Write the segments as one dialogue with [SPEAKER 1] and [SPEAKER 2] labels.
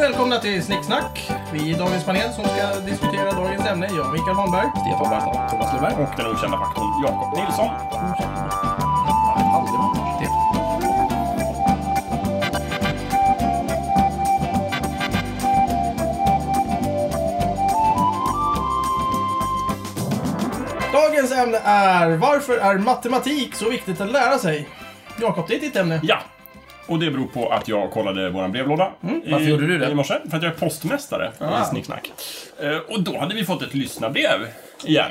[SPEAKER 1] välkomna till Snicksnack. Vi i dagens panel som ska diskutera dagens ämne. Jag, Mikael Holmberg.
[SPEAKER 2] Stefan Barta, Thomas Lundberg.
[SPEAKER 3] Och den okända faktorn Jakob Nilsson.
[SPEAKER 1] Dagens ämne är Varför är matematik så viktigt att lära sig? Jakob, det är ditt ämne.
[SPEAKER 3] Ja! Och det beror på att jag kollade vår brevlåda i,
[SPEAKER 2] Mm. Varför gjorde du det?
[SPEAKER 3] i morse. För att jag är postmästare
[SPEAKER 1] Ah.
[SPEAKER 3] i Snicksnack. Eh, och då hade vi fått ett lyssnarbrev igen.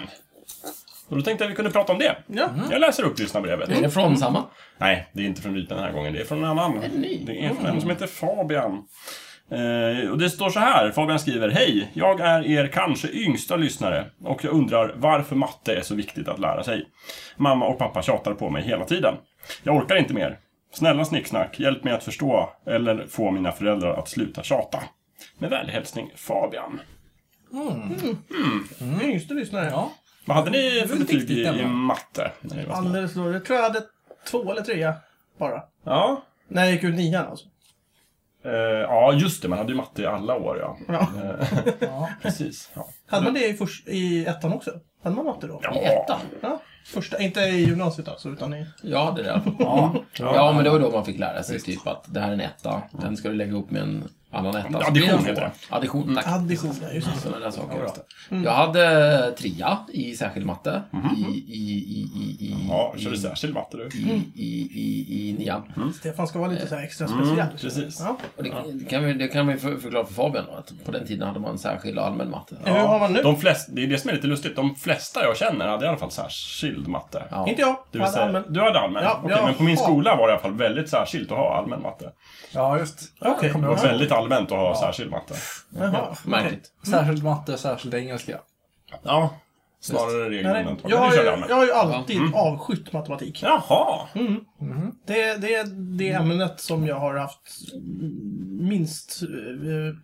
[SPEAKER 3] Och då tänkte jag att vi kunde prata om det.
[SPEAKER 1] Ja.
[SPEAKER 3] Jag läser upp lyssnarbrevet.
[SPEAKER 2] Är det från samma?
[SPEAKER 3] Nej, det är inte från Rypen den här gången. Det är Mm. från en annan. Det är från en som heter Fabian. Eh, och det står så här. Fabian skriver Hej! Jag är er kanske yngsta lyssnare och jag undrar varför matte är så viktigt att lära sig. Mamma och pappa tjatar på mig hela tiden. Jag orkar inte mer. Snälla Snicksnack, hjälp mig att förstå eller få mina föräldrar att sluta tjata. Med vänlig hälsning Fabian.
[SPEAKER 1] Mm. Yngste lyssnare. Ja.
[SPEAKER 3] Vad hade ni för
[SPEAKER 4] väl
[SPEAKER 3] betyg i,
[SPEAKER 4] viktigt ändå.
[SPEAKER 3] i matte? när ni var små?
[SPEAKER 1] Alldeles då. Jag tror jag hade två eller trea bara.
[SPEAKER 3] Ja.
[SPEAKER 1] När jag gick ut nian alltså.
[SPEAKER 3] Eh, ja, just det. Man hade ju matte i alla år, ja. Eh,
[SPEAKER 1] Ja.
[SPEAKER 3] Precis. Ja.
[SPEAKER 1] Hade man det i, förs- i ettan också? Hade man matte då?
[SPEAKER 3] Ja.
[SPEAKER 2] I ettan?
[SPEAKER 1] Ja. Första, inte i gymnasiet alltså, utan i...
[SPEAKER 2] Ja, det där. Ja. ja, men det var då man fick lära sig typ att det här är en etta. Den ska du lägga ihop med en annan etta. Så blir det en
[SPEAKER 3] Addition heter
[SPEAKER 2] tvåa. Addition, tack.
[SPEAKER 1] Addition, ja, just det.
[SPEAKER 2] Sådana där saker. just det. Jag hade trea i särskild matte. I, i, i, i, i,
[SPEAKER 3] Ja,
[SPEAKER 2] i,
[SPEAKER 3] körde särskild matte du.
[SPEAKER 2] i, i, i, i nian.
[SPEAKER 1] Stefan ska vara lite så här extra speciell.
[SPEAKER 3] Mm, precis.
[SPEAKER 1] Mm. Ja.
[SPEAKER 2] Och det, det kan vi, det kan vi för- förklara för Fabian då, att på den tiden hade man särskild och allmän matte.
[SPEAKER 1] Hur har man nu?
[SPEAKER 3] De flesta, det är det som är lite lustigt. De flesta jag känner hade i alla fall särskild matte.
[SPEAKER 2] Ja.
[SPEAKER 1] Inte jag.
[SPEAKER 3] Du,
[SPEAKER 1] jag
[SPEAKER 3] hade
[SPEAKER 1] hade allmän.
[SPEAKER 3] du hade allmän?
[SPEAKER 1] Ja,
[SPEAKER 3] Okej,
[SPEAKER 1] jag
[SPEAKER 3] men på min
[SPEAKER 1] har-
[SPEAKER 3] skola var det i alla fall väldigt särskilt att ha allmän matte.
[SPEAKER 4] Ja, just.
[SPEAKER 1] Okej.
[SPEAKER 4] Det kommer
[SPEAKER 3] Det
[SPEAKER 4] jag
[SPEAKER 3] var
[SPEAKER 4] ihåg.
[SPEAKER 3] väldigt allmänt att ha särskild matte.
[SPEAKER 1] Jaha, okej.
[SPEAKER 2] Märkligt.
[SPEAKER 4] Särskild Mm. matte, särskild engelska.
[SPEAKER 3] Ja. Snarare regel än
[SPEAKER 1] Nej, nej. Jag
[SPEAKER 3] undantag. Men
[SPEAKER 1] har
[SPEAKER 3] du
[SPEAKER 1] ju,
[SPEAKER 3] körde
[SPEAKER 1] jag
[SPEAKER 3] allmän.
[SPEAKER 1] har ju alltid
[SPEAKER 3] Mm.
[SPEAKER 1] avskytt matematik.
[SPEAKER 3] Jaha!
[SPEAKER 1] Det, det är det
[SPEAKER 3] Mm.
[SPEAKER 1] ämnet som jag har haft minst eh,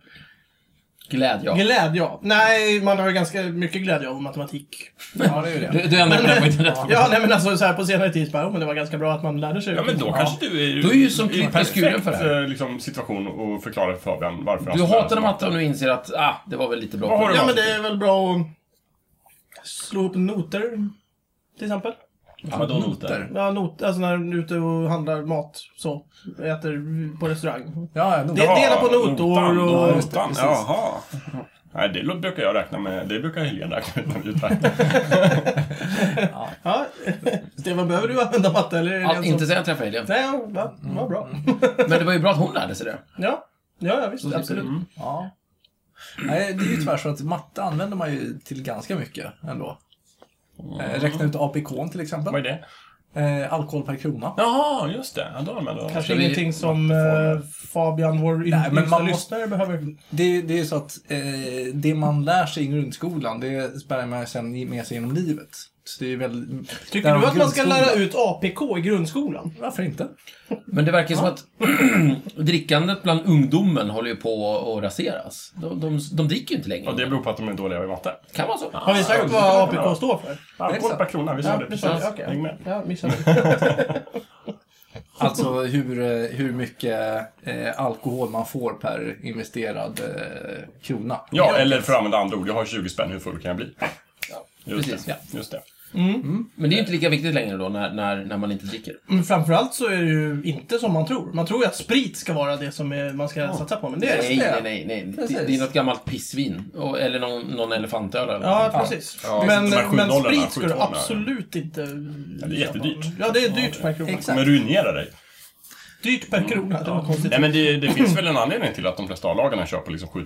[SPEAKER 2] Glädje av.
[SPEAKER 1] glädje av. Nej, man har ju ganska mycket glädje av matematik.
[SPEAKER 4] Ja, det är ju det.
[SPEAKER 2] Du, du ändrar på det på internet.
[SPEAKER 1] Ja, nej men alltså så här på senare tid så bara, oh, men det var ganska bra att man lärde sig.
[SPEAKER 3] Ja, men då kanske du är
[SPEAKER 2] Du är ju som
[SPEAKER 3] i
[SPEAKER 2] klippt i
[SPEAKER 3] perfekt,
[SPEAKER 2] skuren för det här.
[SPEAKER 3] eh, liksom, situation och förklara för Fabian varför han
[SPEAKER 2] Du
[SPEAKER 3] skulle
[SPEAKER 2] hatade
[SPEAKER 3] lära sig
[SPEAKER 2] matte och nu inser att ah, det var väl lite bra.
[SPEAKER 3] Vad har du
[SPEAKER 1] Ja, men det är väl bra att slå upp noter. Till exempel.
[SPEAKER 3] Ja, Vadå noter?
[SPEAKER 1] Ja, not, alltså när du är ute och handlar mat. Så. Äter på restaurang.
[SPEAKER 4] Ja, ja, nog.
[SPEAKER 1] Det-
[SPEAKER 3] Ja,
[SPEAKER 1] dela på notor
[SPEAKER 3] notan,
[SPEAKER 1] och-
[SPEAKER 3] då-
[SPEAKER 1] Ja,
[SPEAKER 4] just det,
[SPEAKER 3] notan.
[SPEAKER 4] precis.
[SPEAKER 3] Jaha. Nej, det brukar jag räkna med. Det brukar Helene räkna med. när vi räknar.
[SPEAKER 1] Ja. Stefan, behöver du använda matte eller? är det
[SPEAKER 2] Allt,
[SPEAKER 1] en som-
[SPEAKER 2] inte sen jag träffade Helene.
[SPEAKER 1] Nej, ja, va- vad bra.
[SPEAKER 2] Men det var ju bra att hon lärde sig det.
[SPEAKER 1] Ja, ja, ja visst.
[SPEAKER 2] Så
[SPEAKER 1] Absolut.
[SPEAKER 2] tycker
[SPEAKER 4] Ja. Nej, det är ju tyvärr så att matte använder man ju till ganska mycket ändå. Eh, räkna ut APK till exempel.
[SPEAKER 3] Vad är det?
[SPEAKER 4] Eh, alkohol per krona.
[SPEAKER 3] Jaha, just det. Ja, då använder jag
[SPEAKER 1] Kanske
[SPEAKER 2] Ska vi-
[SPEAKER 1] ingenting som eh, Fabian, vår
[SPEAKER 4] men
[SPEAKER 1] yngsta
[SPEAKER 4] man måste-
[SPEAKER 1] lyssnare, behöver.
[SPEAKER 4] Det, det är ju så att eh, det man lär sig i grundskolan, det spär man sen med sig genom livet. Så det är väl...
[SPEAKER 1] Tycker du att man ska lära ut APK i grundskolan?
[SPEAKER 4] Varför inte?
[SPEAKER 2] Men det verkar ju som att drickandet bland ungdomen håller ju på att raseras. De, de, de dricker ju inte längre.
[SPEAKER 3] Och det beror på att de är dåliga i matte.
[SPEAKER 2] Kan vara så.
[SPEAKER 1] Har vi sagt vad APK står för?
[SPEAKER 3] Alkohol
[SPEAKER 4] exakt.
[SPEAKER 3] per krona, vi sa det
[SPEAKER 1] precis.
[SPEAKER 3] precis.
[SPEAKER 1] Okej.
[SPEAKER 3] Häng med.
[SPEAKER 1] Ja, missade det.
[SPEAKER 4] Alltså hur, eh, hur mycket eh, alkohol man får per investerad eh, krona.
[SPEAKER 3] Ja, eller för att använda andra ord, jag har 20 spänn, hur full kan jag bli? Just
[SPEAKER 2] precis,
[SPEAKER 3] det.
[SPEAKER 2] ja.
[SPEAKER 3] Just det.
[SPEAKER 2] Men det är ju inte lika viktigt längre då när, när, när man inte dricker.
[SPEAKER 1] Men framförallt så är det ju inte som man tror. Man tror ju att sprit ska vara det som är, man ska satsa på, men det är
[SPEAKER 2] Nej,
[SPEAKER 1] det.
[SPEAKER 2] nej, nej. nej. Det, det är
[SPEAKER 4] Precis.
[SPEAKER 2] något gammalt pissvin. Och, eller någon, någon elefantöl eller
[SPEAKER 1] Ja,
[SPEAKER 2] någonting.
[SPEAKER 1] precis.
[SPEAKER 3] Ja,
[SPEAKER 1] men eh,
[SPEAKER 3] de här sju
[SPEAKER 1] men
[SPEAKER 3] dollarna,
[SPEAKER 1] sprit
[SPEAKER 3] sju
[SPEAKER 1] ska du
[SPEAKER 3] dollarna.
[SPEAKER 1] absolut inte... Ja,
[SPEAKER 3] det är jättedyrt.
[SPEAKER 1] Ja, det är dyrt per krona.
[SPEAKER 4] Exakt.
[SPEAKER 3] Men ruinera dig.
[SPEAKER 1] Dyrt per krona, det var konstigt.
[SPEAKER 3] Nej men det, det finns väl en anledning till att de flesta A-lagarna kör på liksom 7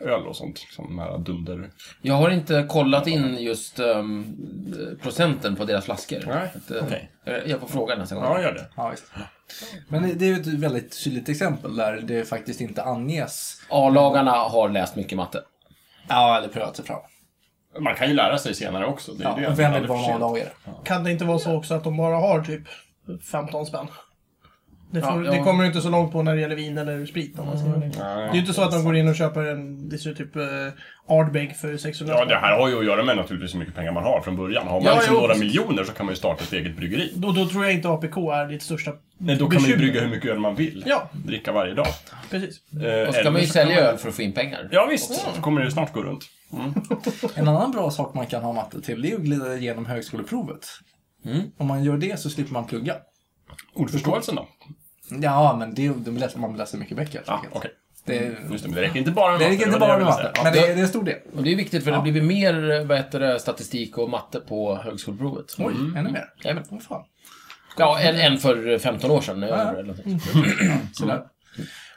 [SPEAKER 3] öl och sånt. Som de här dunder...
[SPEAKER 2] Jag har inte kollat in just ehm, procenten på deras flaskor.
[SPEAKER 3] Nej,
[SPEAKER 2] Att, eh,
[SPEAKER 3] okej.
[SPEAKER 2] jag- Jag får fråga nästa gång.
[SPEAKER 3] Ja, gör det.
[SPEAKER 4] Ja, visst. Men det- det är ju ett väldigt tydligt exempel där det faktiskt inte anges.
[SPEAKER 2] A-lagarna har läst mycket matte.
[SPEAKER 4] Ja, eller prövat sig fram.
[SPEAKER 3] Man kan ju lära sig senare också. Det är
[SPEAKER 4] Ja,
[SPEAKER 3] det.
[SPEAKER 4] och vem vill
[SPEAKER 3] Aldrig för
[SPEAKER 4] vara
[SPEAKER 3] sent.
[SPEAKER 4] A-lagare?
[SPEAKER 1] Kan det inte vara så också att de bara har typ 15 spänn? Det, får,
[SPEAKER 2] Ja,
[SPEAKER 1] det
[SPEAKER 2] ja.
[SPEAKER 1] kommer ju inte så långt på när det gäller vin eller sprit. Om man
[SPEAKER 3] Mm.
[SPEAKER 1] säger det. det är ju inte så att de går in och köper en det ser typ eh, Ardbeg för 600
[SPEAKER 3] Ja,
[SPEAKER 1] spänn.
[SPEAKER 3] det här har ju att göra med naturligtvis hur mycket pengar man har från början. Har man
[SPEAKER 1] Ja,
[SPEAKER 3] liksom
[SPEAKER 1] jo,
[SPEAKER 3] några
[SPEAKER 1] precis.
[SPEAKER 3] miljoner så kan man ju starta ett eget bryggeri.
[SPEAKER 1] Och då tror jag inte APK är ditt största
[SPEAKER 3] Nej, då kan man ju
[SPEAKER 1] Bekymmer.
[SPEAKER 3] brygga hur mycket öl man vill.
[SPEAKER 1] Ja.
[SPEAKER 3] Dricka varje dag.
[SPEAKER 1] Precis.
[SPEAKER 3] Eh,
[SPEAKER 2] Och ska man ju
[SPEAKER 3] eller-
[SPEAKER 2] sälja öl för att få in pengar.
[SPEAKER 3] Ja, visst. Då kommer det snart gå runt.
[SPEAKER 4] En annan bra sak man kan ha matte till, det är att glida igenom högskoleprovet. Om man gör det så slipper man plugga.
[SPEAKER 3] Ordförståelsen då?
[SPEAKER 4] Ja, men det, det läser, man läser mycket böcker helt
[SPEAKER 3] Ja,
[SPEAKER 4] enkelt.
[SPEAKER 3] okej.
[SPEAKER 4] Det,
[SPEAKER 3] Just det, men det räcker inte bara med
[SPEAKER 4] Mm. det
[SPEAKER 3] matte,
[SPEAKER 4] räcker inte
[SPEAKER 3] var
[SPEAKER 4] bara
[SPEAKER 3] jag
[SPEAKER 4] med
[SPEAKER 3] ville
[SPEAKER 4] matte,
[SPEAKER 3] säga.
[SPEAKER 4] men det, är- det är en stor del.
[SPEAKER 2] Och det är viktigt för det blir mer vad heter det, statistik och matte på högskoleprovet.
[SPEAKER 4] Oj, ännu mer.
[SPEAKER 2] Jajamän.
[SPEAKER 4] Vad fan.
[SPEAKER 2] Ja, en, en för 15 år sedan. eller något.
[SPEAKER 4] Sådär.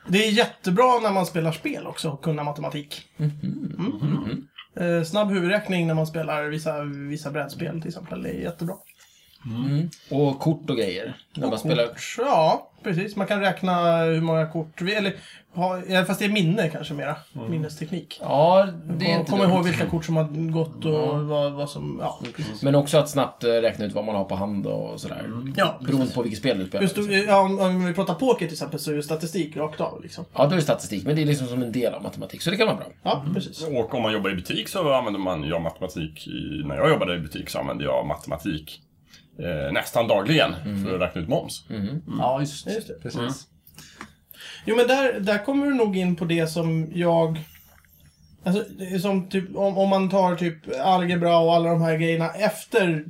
[SPEAKER 1] Det är jättebra när man spelar spel också, att kunna matematik.
[SPEAKER 2] Mm-hmm.
[SPEAKER 1] Mm. Eh, Snabb huvudräkning när man spelar vissa, vissa brädspel till exempel, det är jättebra.
[SPEAKER 2] Och kort och grejer. När man spelar...
[SPEAKER 1] Kort, Mm. ja, precis. Man kan räkna hur många kort vi... Eller, ha, ja, fast det är minne kanske mera. Minnesteknik.
[SPEAKER 2] Ja, det är
[SPEAKER 1] Och
[SPEAKER 2] inte
[SPEAKER 1] komma
[SPEAKER 2] dumt. Mm.
[SPEAKER 1] ihåg vilka kort som har gått och vad, vad som... Ja, precis.
[SPEAKER 2] Men också att snabbt eh, räkna ut vad man har på hand och sådär.
[SPEAKER 1] Ja,
[SPEAKER 2] Beroende på vilket spel du spelar.
[SPEAKER 1] Just, då- ja, om, om vi pratar poker till exempel så är det statistik rakt av. Liksom.
[SPEAKER 2] Ja, då är det statistik. Men det är liksom som en del av matematik. Så det kan vara bra.
[SPEAKER 1] Ja, precis.
[SPEAKER 3] Och om man jobbar i butik så använder man jag matematik. I, när jag jobbade i butik så använde jag matematik eh, nästan dagligen
[SPEAKER 1] Mm.
[SPEAKER 3] för att räkna ut moms.
[SPEAKER 4] Ja, Mm. just, Mm.
[SPEAKER 1] Just det.
[SPEAKER 4] Precis.
[SPEAKER 1] Jo, men där, där kommer du nog in på det som jag... Alltså, det är som typ, om, om man tar typ algebra och alla de här grejerna efter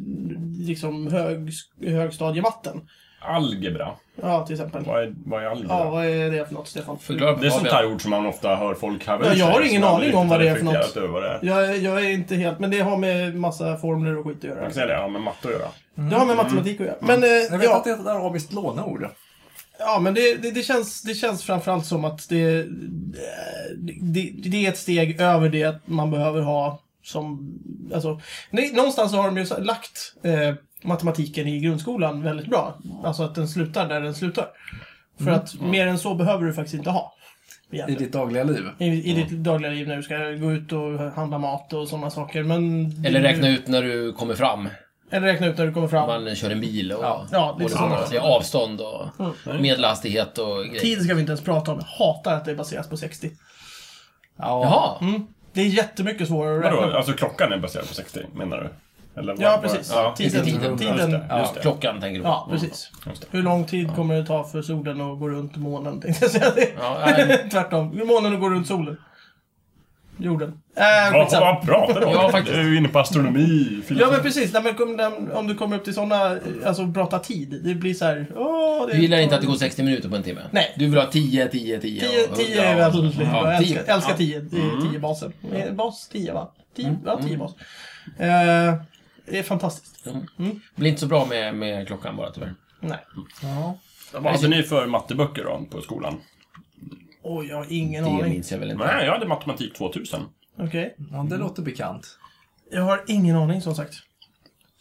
[SPEAKER 1] liksom, hög, högstadiematten.
[SPEAKER 3] Algebra.
[SPEAKER 1] Ja, till exempel.
[SPEAKER 3] Vad är, vad är algebra?
[SPEAKER 1] Ja, vad är det för något, Stefan?
[SPEAKER 2] Förklara
[SPEAKER 3] det är sånt
[SPEAKER 2] Fabian.
[SPEAKER 3] här ord som man ofta hör folk här
[SPEAKER 1] Ja, jag har ingen aning om vad det är för något.
[SPEAKER 3] Över vad det är.
[SPEAKER 1] Jag, jag är inte helt... Men det har med massa formler och skit att
[SPEAKER 3] Jag
[SPEAKER 1] göra.
[SPEAKER 3] kan säga det, ja, med matte att göra.
[SPEAKER 1] Det har med
[SPEAKER 3] Mm.
[SPEAKER 1] matematik att göra. Men, eh,
[SPEAKER 4] Jag vet
[SPEAKER 1] ja,
[SPEAKER 4] att det är ett arabiskt låneord.
[SPEAKER 1] ja, men det, det, det, känns, det känns framförallt som att det, det, det är ett steg över det man behöver ha som... Alltså, nej, någonstans så har de ju så- lagt eh, matematiken i grundskolan väldigt bra. Alltså att den slutar där den slutar.
[SPEAKER 2] Mm.
[SPEAKER 1] För att mer än så behöver du faktiskt inte ha.
[SPEAKER 4] I
[SPEAKER 1] egentligen.
[SPEAKER 4] ditt dagliga liv.
[SPEAKER 1] I, i ditt dagliga liv när du ska gå ut och handla mat och sådana saker. Men
[SPEAKER 2] Eller räkna ut när du kommer fram.
[SPEAKER 1] Eller räkna ut när du kommer fram.
[SPEAKER 2] Man kör en bil och...
[SPEAKER 4] Ja,
[SPEAKER 1] ja, lite
[SPEAKER 2] och-
[SPEAKER 1] sådana.
[SPEAKER 2] det är avstånd och medelhastighet och grejer.
[SPEAKER 1] Tid ska vi inte ens prata om. Jag hatar att det baseras på 60.
[SPEAKER 4] Ja.
[SPEAKER 2] Jaha.
[SPEAKER 1] Det är jättemycket svårare att räkna
[SPEAKER 3] Vadå,
[SPEAKER 1] på.
[SPEAKER 3] alltså klockan är baserad på 60, menar du? Eller vad-
[SPEAKER 1] Ja,
[SPEAKER 3] vad-
[SPEAKER 1] precis.
[SPEAKER 3] Ja.
[SPEAKER 1] Tiden.
[SPEAKER 2] Just det,
[SPEAKER 1] Tiden.
[SPEAKER 3] just det.
[SPEAKER 1] Ja.
[SPEAKER 2] Ja, klockan tänker du på.
[SPEAKER 1] precis.
[SPEAKER 3] Just det.
[SPEAKER 1] Hur lång tid kommer det ta för solen att gå runt månen? Tänkte jag säga det.
[SPEAKER 2] Ja, nej.
[SPEAKER 1] Tvärtom. Hur Månen att gå runt solen. Jorden. Äh,
[SPEAKER 3] Vad,
[SPEAKER 1] skitsamma.
[SPEAKER 3] vad pratar du om?
[SPEAKER 2] Ja, faktiskt.
[SPEAKER 3] Du är inne på astronomi, filosofi.
[SPEAKER 1] Ja men precis, Nej, men kom- den- om du kommer upp till sådana, alltså prata tid. Det blir så här, åh, det
[SPEAKER 2] Du gillar inte att det går 60 minuter på en timme?
[SPEAKER 1] Nej.
[SPEAKER 2] Du vill ha 10, 10, 10?
[SPEAKER 1] 10, 10 är väldigt bra. Jag
[SPEAKER 2] tio.
[SPEAKER 1] älskar, jag älskar 10. Det
[SPEAKER 3] Mm.
[SPEAKER 1] är 10 basen. Eh, Bas 10 va?
[SPEAKER 2] Mm.
[SPEAKER 1] 10, ja 10 bas. Eh, det är fantastiskt.
[SPEAKER 2] Det blir inte så bra med, med klockan bara tyvärr.
[SPEAKER 1] Nej.
[SPEAKER 4] Ja.
[SPEAKER 3] Vad hade Alltså, ni för matteböcker då, på skolan?
[SPEAKER 1] Oj, jag har ingen
[SPEAKER 2] Det
[SPEAKER 1] aning.
[SPEAKER 2] minns jag väl inte.
[SPEAKER 3] Nej, jag hade matematik 2000.
[SPEAKER 1] Okej.
[SPEAKER 4] ja, det låter bekant.
[SPEAKER 1] Jag har ingen aning som sagt.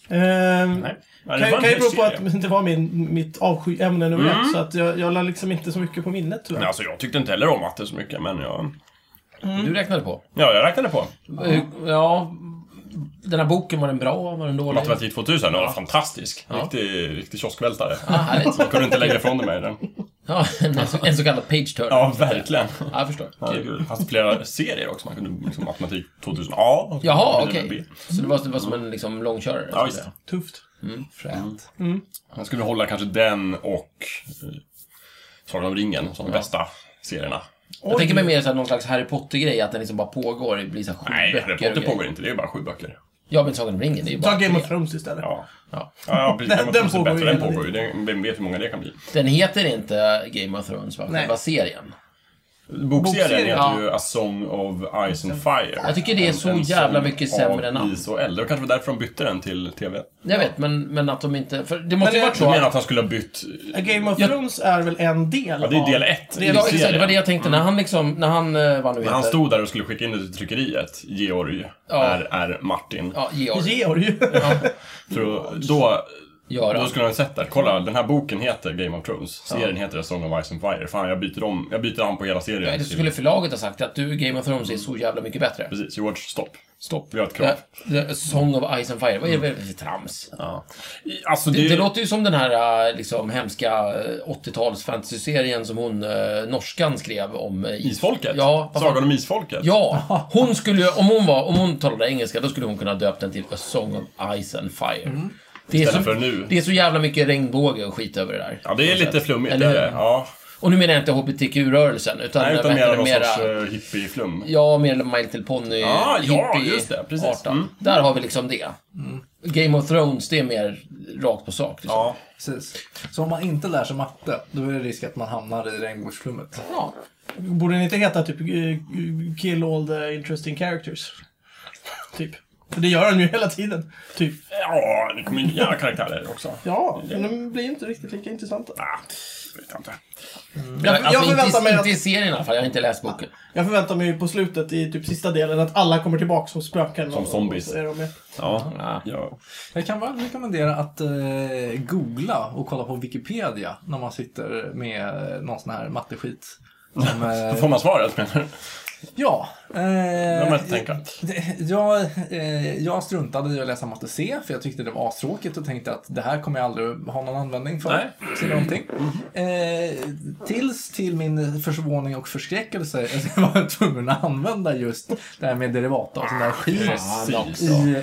[SPEAKER 1] Ehm,
[SPEAKER 3] Nej.
[SPEAKER 1] Kan,
[SPEAKER 3] Nej, det var en Mm.
[SPEAKER 1] kan ju
[SPEAKER 3] hel
[SPEAKER 1] bero på
[SPEAKER 3] serie.
[SPEAKER 1] att det var min, mitt avskyämne nummer ett, så att jag, jag la liksom inte så mycket på minnet tyvärr.
[SPEAKER 3] Nej, Alltså, jag tyckte inte heller om matte så mycket, men jag...
[SPEAKER 2] Du räknade på.
[SPEAKER 3] Ja, jag räknade på.
[SPEAKER 2] Hur- Ja, den här boken, var den bra? Var den dålig?
[SPEAKER 3] Matematik 2000, den var fantastisk. Riktig, riktig kioskvältare.
[SPEAKER 1] Ah,
[SPEAKER 2] Ja, härligt.
[SPEAKER 3] Jag kunde inte lägga ifrån mig den.
[SPEAKER 2] Ja, en, så- en så kallad page turner.
[SPEAKER 3] Ja, verkligen.
[SPEAKER 2] Ja, jag förstår.
[SPEAKER 3] Ja, det fanns flera serier också. Man kunde liksom matematik 2000 A. och så
[SPEAKER 2] Jaha,
[SPEAKER 3] kunde
[SPEAKER 2] okej.
[SPEAKER 3] man B.
[SPEAKER 2] Så det var, det var som en liksom, långkörare?
[SPEAKER 3] Ja, just det.
[SPEAKER 1] Tufft.
[SPEAKER 4] Fränt.
[SPEAKER 3] Jag skulle hålla kanske den och eh, Sagan om ringen som de bästa serierna.
[SPEAKER 2] Jag tänker mig mer så här, någon slags Harry Potter-grej, att den liksom bara pågår. Det blir så här sju
[SPEAKER 3] Nej,
[SPEAKER 2] böcker
[SPEAKER 3] Harry
[SPEAKER 2] och
[SPEAKER 3] Potter
[SPEAKER 2] grejer.
[SPEAKER 3] pågår inte. Det är bara sju böcker.
[SPEAKER 2] Ja, men Sagan om ringen, det är ju bara
[SPEAKER 1] Ta Game
[SPEAKER 2] tre.
[SPEAKER 1] of Thrones istället.
[SPEAKER 3] Ja.
[SPEAKER 2] Ja.
[SPEAKER 3] Ja, ja, precis.
[SPEAKER 1] Den-
[SPEAKER 3] Den,
[SPEAKER 1] den
[SPEAKER 3] pågår,
[SPEAKER 1] pågår ju
[SPEAKER 3] bättre, den
[SPEAKER 1] hela
[SPEAKER 3] pågår ju. Den- Vem vet hur många det kan bli?
[SPEAKER 2] Den heter inte Game of Thrones, va?
[SPEAKER 1] Nej.
[SPEAKER 2] Själva serien.
[SPEAKER 3] Bokserien heter
[SPEAKER 2] ja.
[SPEAKER 3] ju A Song of Ice and Fire.
[SPEAKER 2] Jag tycker det är
[SPEAKER 3] En-
[SPEAKER 2] så
[SPEAKER 3] en
[SPEAKER 2] jävla
[SPEAKER 3] sång
[SPEAKER 2] mycket sämre
[SPEAKER 3] av
[SPEAKER 2] namn.
[SPEAKER 3] Is och eld. Det var kanske därför de bytte den till TV.
[SPEAKER 2] Jag vet, men, men att de inte... För det måste
[SPEAKER 1] Men
[SPEAKER 2] ju
[SPEAKER 1] det-
[SPEAKER 2] varit
[SPEAKER 3] Du
[SPEAKER 2] så.
[SPEAKER 3] menar
[SPEAKER 2] att-
[SPEAKER 3] att han skulle ha bytt...
[SPEAKER 1] A Game of
[SPEAKER 2] Jag-
[SPEAKER 1] Thrones är väl en del
[SPEAKER 3] Ja, det är
[SPEAKER 1] av-
[SPEAKER 3] del ett
[SPEAKER 1] Det
[SPEAKER 3] i
[SPEAKER 1] är-
[SPEAKER 2] Ja, exakt. Det var
[SPEAKER 3] serien.
[SPEAKER 2] det jag tänkte. När han liksom... När han... eh, Vad nu
[SPEAKER 3] Mm. När
[SPEAKER 2] heter.
[SPEAKER 3] han stod där och skulle skicka in det till tryckeriet, Georg
[SPEAKER 2] Ja.
[SPEAKER 3] är, är Martin.
[SPEAKER 2] Ja,
[SPEAKER 3] Mm.
[SPEAKER 2] Georg.
[SPEAKER 1] Georg.
[SPEAKER 3] För att- då, då
[SPEAKER 2] Göran.
[SPEAKER 3] skulle han ha sett där, kolla den här boken heter Game of Thrones, serien heter A Song of Ice and Fire. Fan, jag byter, om, jag byter namn på hela serien.
[SPEAKER 2] Nej, det
[SPEAKER 3] till-
[SPEAKER 2] skulle förlaget ha sagt att du, Game of Thrones, är så jävla mycket bättre.
[SPEAKER 3] Precis, George, stopp.
[SPEAKER 2] Stopp.
[SPEAKER 3] Vi har ett krav.
[SPEAKER 2] The, the Song of Ice and Fire. Vad är det
[SPEAKER 3] Mm.
[SPEAKER 2] för trams?
[SPEAKER 3] Ja. I- Alltså, det,
[SPEAKER 2] Det, det låter ju som den här eh, liksom, hemska eh, 80-tals fantasyserien som hon, eh, norskan, skrev om eh, is.
[SPEAKER 3] Isfolket?
[SPEAKER 2] Ja, vad fan-
[SPEAKER 3] Sagan om Isfolket?
[SPEAKER 2] Ja, hon skulle ju, om hon var, om hon talade engelska, då skulle hon kunna döpt den till A Song of Ice and Fire. Det är,
[SPEAKER 3] Istället
[SPEAKER 2] så,
[SPEAKER 3] för nu.
[SPEAKER 2] det är så jävla mycket regnbåge och skit över det där.
[SPEAKER 3] Ja, det är lite flummigt.
[SPEAKER 2] Eller
[SPEAKER 3] Eller,
[SPEAKER 2] hur?
[SPEAKER 3] ja.
[SPEAKER 2] Och nu menar jag inte HBTQ-rörelsen, utan,
[SPEAKER 3] Nej, utan
[SPEAKER 2] vad heter
[SPEAKER 3] mer
[SPEAKER 2] det,
[SPEAKER 3] någon sorts
[SPEAKER 2] mera-
[SPEAKER 3] uh, hippieflum.
[SPEAKER 2] Ja, mer My Little Pony,
[SPEAKER 3] Ja, ja,
[SPEAKER 2] hippie-
[SPEAKER 3] just det, precis.
[SPEAKER 2] artan.
[SPEAKER 3] Mm.
[SPEAKER 2] Där har vi liksom det. Game of Thrones, det är mer rakt på sak. Liksom.
[SPEAKER 3] Ja.
[SPEAKER 4] Precis. Så om man inte lär sig matte, då är det risk att man hamnar i regnbågsflummet.
[SPEAKER 2] Ja.
[SPEAKER 1] Borde den inte heta typ eh, Kill all the interesting characters? typ. För det gör han ju hela tiden. Typ.
[SPEAKER 3] ja, det kommer ju nya karaktärer också.
[SPEAKER 1] Ja, men de blir inte riktigt lika intressanta.
[SPEAKER 3] Ah, vet jag inte.
[SPEAKER 2] Jag, alltså,
[SPEAKER 1] förväntar
[SPEAKER 2] inte,
[SPEAKER 1] mig
[SPEAKER 2] mig
[SPEAKER 1] att-
[SPEAKER 2] inte i serien i alla fall, jag har inte läst boken.
[SPEAKER 1] Jag förväntar mig ju på slutet, i typ sista delen, att alla kommer tillbaka som spöken.
[SPEAKER 3] Som
[SPEAKER 1] och-
[SPEAKER 3] zombies.
[SPEAKER 1] och så är de med.
[SPEAKER 3] Ja.
[SPEAKER 2] Ja.
[SPEAKER 3] Ja.
[SPEAKER 4] Jag kan varmt rekommendera att eh, googla och kolla på Wikipedia när man sitter med eh, någon sån här matteskit. Som, eh,
[SPEAKER 3] Då får man svaret, menar du?
[SPEAKER 4] Ja. Eh,
[SPEAKER 3] man inte tänka.
[SPEAKER 4] det- Jag, eh, jag struntade i att läsa matte C för jag tyckte det var astråkigt och tänkte att det här kommer jag aldrig ha någon användning för.
[SPEAKER 3] Nej.
[SPEAKER 4] Till någonting. Eh, tills till min förvåning och förskräckelse att jag var tvungen att använda just det här med derivata och sån där skit.
[SPEAKER 3] Precis.
[SPEAKER 4] I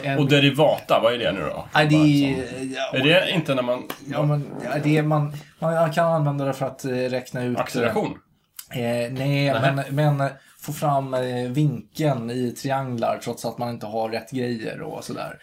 [SPEAKER 4] en-
[SPEAKER 3] Ah, Och derivata, vad är det nu då?
[SPEAKER 4] Nej, det är...
[SPEAKER 3] Är det inte när man...
[SPEAKER 4] Ja, men, ja, det är man, man kan använda det för att eh, räkna ut...
[SPEAKER 3] Acceleration?
[SPEAKER 4] Eh, nej, men, men eh, få fram eh, vinkeln i trianglar trots att man inte har rätt grejer och sådär.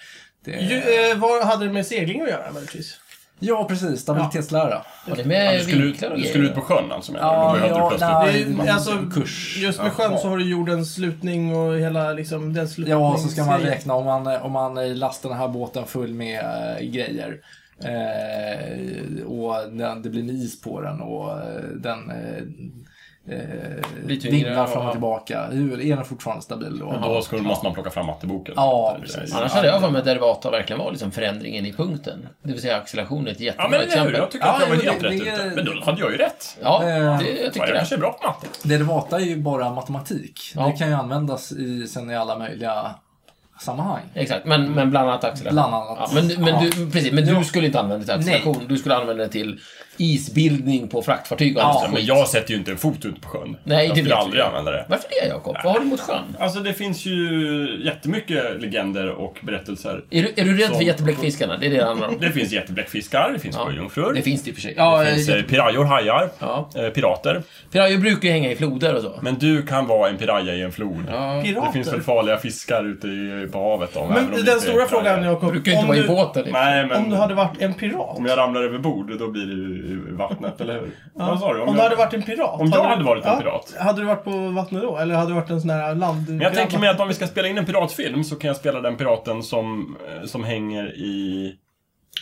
[SPEAKER 4] Det,
[SPEAKER 1] Ju, eh, vad hade det med segling att göra möjligtvis?
[SPEAKER 4] ja, precis. Stabilitetslära.
[SPEAKER 2] Var det
[SPEAKER 3] Ja,
[SPEAKER 2] med
[SPEAKER 3] du, skulle, ut-
[SPEAKER 2] vinklar och
[SPEAKER 3] du
[SPEAKER 2] Eh, grejer?
[SPEAKER 3] skulle ut på sjön alltså menar
[SPEAKER 4] Ja,
[SPEAKER 3] du? Då behövde
[SPEAKER 4] ja,
[SPEAKER 3] du plötsligt...
[SPEAKER 4] nej.
[SPEAKER 1] Det är, ju-
[SPEAKER 4] man-
[SPEAKER 1] alltså,
[SPEAKER 4] en kurs.
[SPEAKER 1] Just med sjön så har du jordens slutning och hela liksom, den slutningen.
[SPEAKER 4] Ja, så ska man räkna om man, om man eh, lastar den här båten full med eh, grejer. Eh, och den, det blir en is på den och eh, den eh, eh,
[SPEAKER 2] Blir tyngre,
[SPEAKER 4] vinglar fram
[SPEAKER 2] ja.
[SPEAKER 4] och tillbaka. Hur, är den fortfarande stabil då?
[SPEAKER 3] Då skulle, måste man plocka fram matteboken. Det
[SPEAKER 4] Ja,
[SPEAKER 3] är-
[SPEAKER 4] precis.
[SPEAKER 2] Annars hade jag för mig att derivata verkligen var liksom förändringen i punkten. Det vill säga acceleration är ett jättebra
[SPEAKER 3] Ja, men eller hur?
[SPEAKER 2] exempel.
[SPEAKER 3] Jag tycker
[SPEAKER 4] Ja,
[SPEAKER 3] att jag var
[SPEAKER 4] jo, det-
[SPEAKER 3] helt rätt
[SPEAKER 4] det-
[SPEAKER 3] ute. Men då hade jag ju rätt.
[SPEAKER 2] Ja,
[SPEAKER 4] Eh,
[SPEAKER 2] det, jag
[SPEAKER 3] Ja,
[SPEAKER 2] tycker
[SPEAKER 3] jag
[SPEAKER 2] det.
[SPEAKER 3] kanske är bra på matte.
[SPEAKER 4] Derivata är ju bara matematik.
[SPEAKER 2] Ja.
[SPEAKER 4] Det kan ju användas i, sen i alla möjliga sammanhang.
[SPEAKER 2] Exakt, men, men bland annat acceleration.
[SPEAKER 4] Bland annat.
[SPEAKER 2] Ja, men men,
[SPEAKER 4] Ja.
[SPEAKER 2] Du, precis, men du skulle inte använda det till acceleration. Du skulle använda det till isbildning på fraktfartyg och annat
[SPEAKER 3] Ja,
[SPEAKER 2] sånt
[SPEAKER 3] men
[SPEAKER 2] skit.
[SPEAKER 3] jag sätter ju inte en fot ute på sjön.
[SPEAKER 2] Nej,
[SPEAKER 3] jag
[SPEAKER 2] det
[SPEAKER 3] skulle
[SPEAKER 2] vet
[SPEAKER 3] aldrig
[SPEAKER 2] vi.
[SPEAKER 3] använda det.
[SPEAKER 2] Varför det, Jakob? Vad har du mot sjön?
[SPEAKER 3] Alltså det finns ju jättemycket legender och berättelser.
[SPEAKER 2] Är du, är du rädd
[SPEAKER 3] Så-
[SPEAKER 2] för jättebläckfiskarna? Det är det det handlar om.
[SPEAKER 3] Det finns jättebläckfiskar, det finns sjöjungfrur,
[SPEAKER 2] Det finns det i och för sig.
[SPEAKER 1] Ja,
[SPEAKER 3] det finns eh, pirayor, hajar,
[SPEAKER 2] Ja.
[SPEAKER 3] eh, pirater.
[SPEAKER 2] Pirayor brukar ju hänga i floder och så.
[SPEAKER 3] Men du kan vara en piraya i en flod.
[SPEAKER 2] Ja.
[SPEAKER 3] Det finns väl
[SPEAKER 1] pirater.
[SPEAKER 3] farliga fiskar ute i, på havet då, även om
[SPEAKER 1] Men
[SPEAKER 3] det
[SPEAKER 1] den
[SPEAKER 3] inte är
[SPEAKER 1] stora
[SPEAKER 3] pirayor.
[SPEAKER 1] frågan, Jakob.
[SPEAKER 2] Brukar ju inte
[SPEAKER 1] om
[SPEAKER 2] vara i
[SPEAKER 1] du-
[SPEAKER 2] båten liksom.
[SPEAKER 3] Nej, men...
[SPEAKER 1] Om du hade varit en pirat?
[SPEAKER 3] Om jag ramlar över bord, då blir det ju i vattnet, eller hur? Vad sa du?
[SPEAKER 1] Om du hade varit en pirat?
[SPEAKER 3] Om jag hade
[SPEAKER 1] du-
[SPEAKER 3] varit en
[SPEAKER 1] ja,
[SPEAKER 3] pirat?
[SPEAKER 1] Hade du varit på vattnet då? Eller hade du varit en sån här land...
[SPEAKER 3] Men jag tänker mig att om vi ska spela in en piratfilm så kan jag spela den piraten som, eh, som hänger i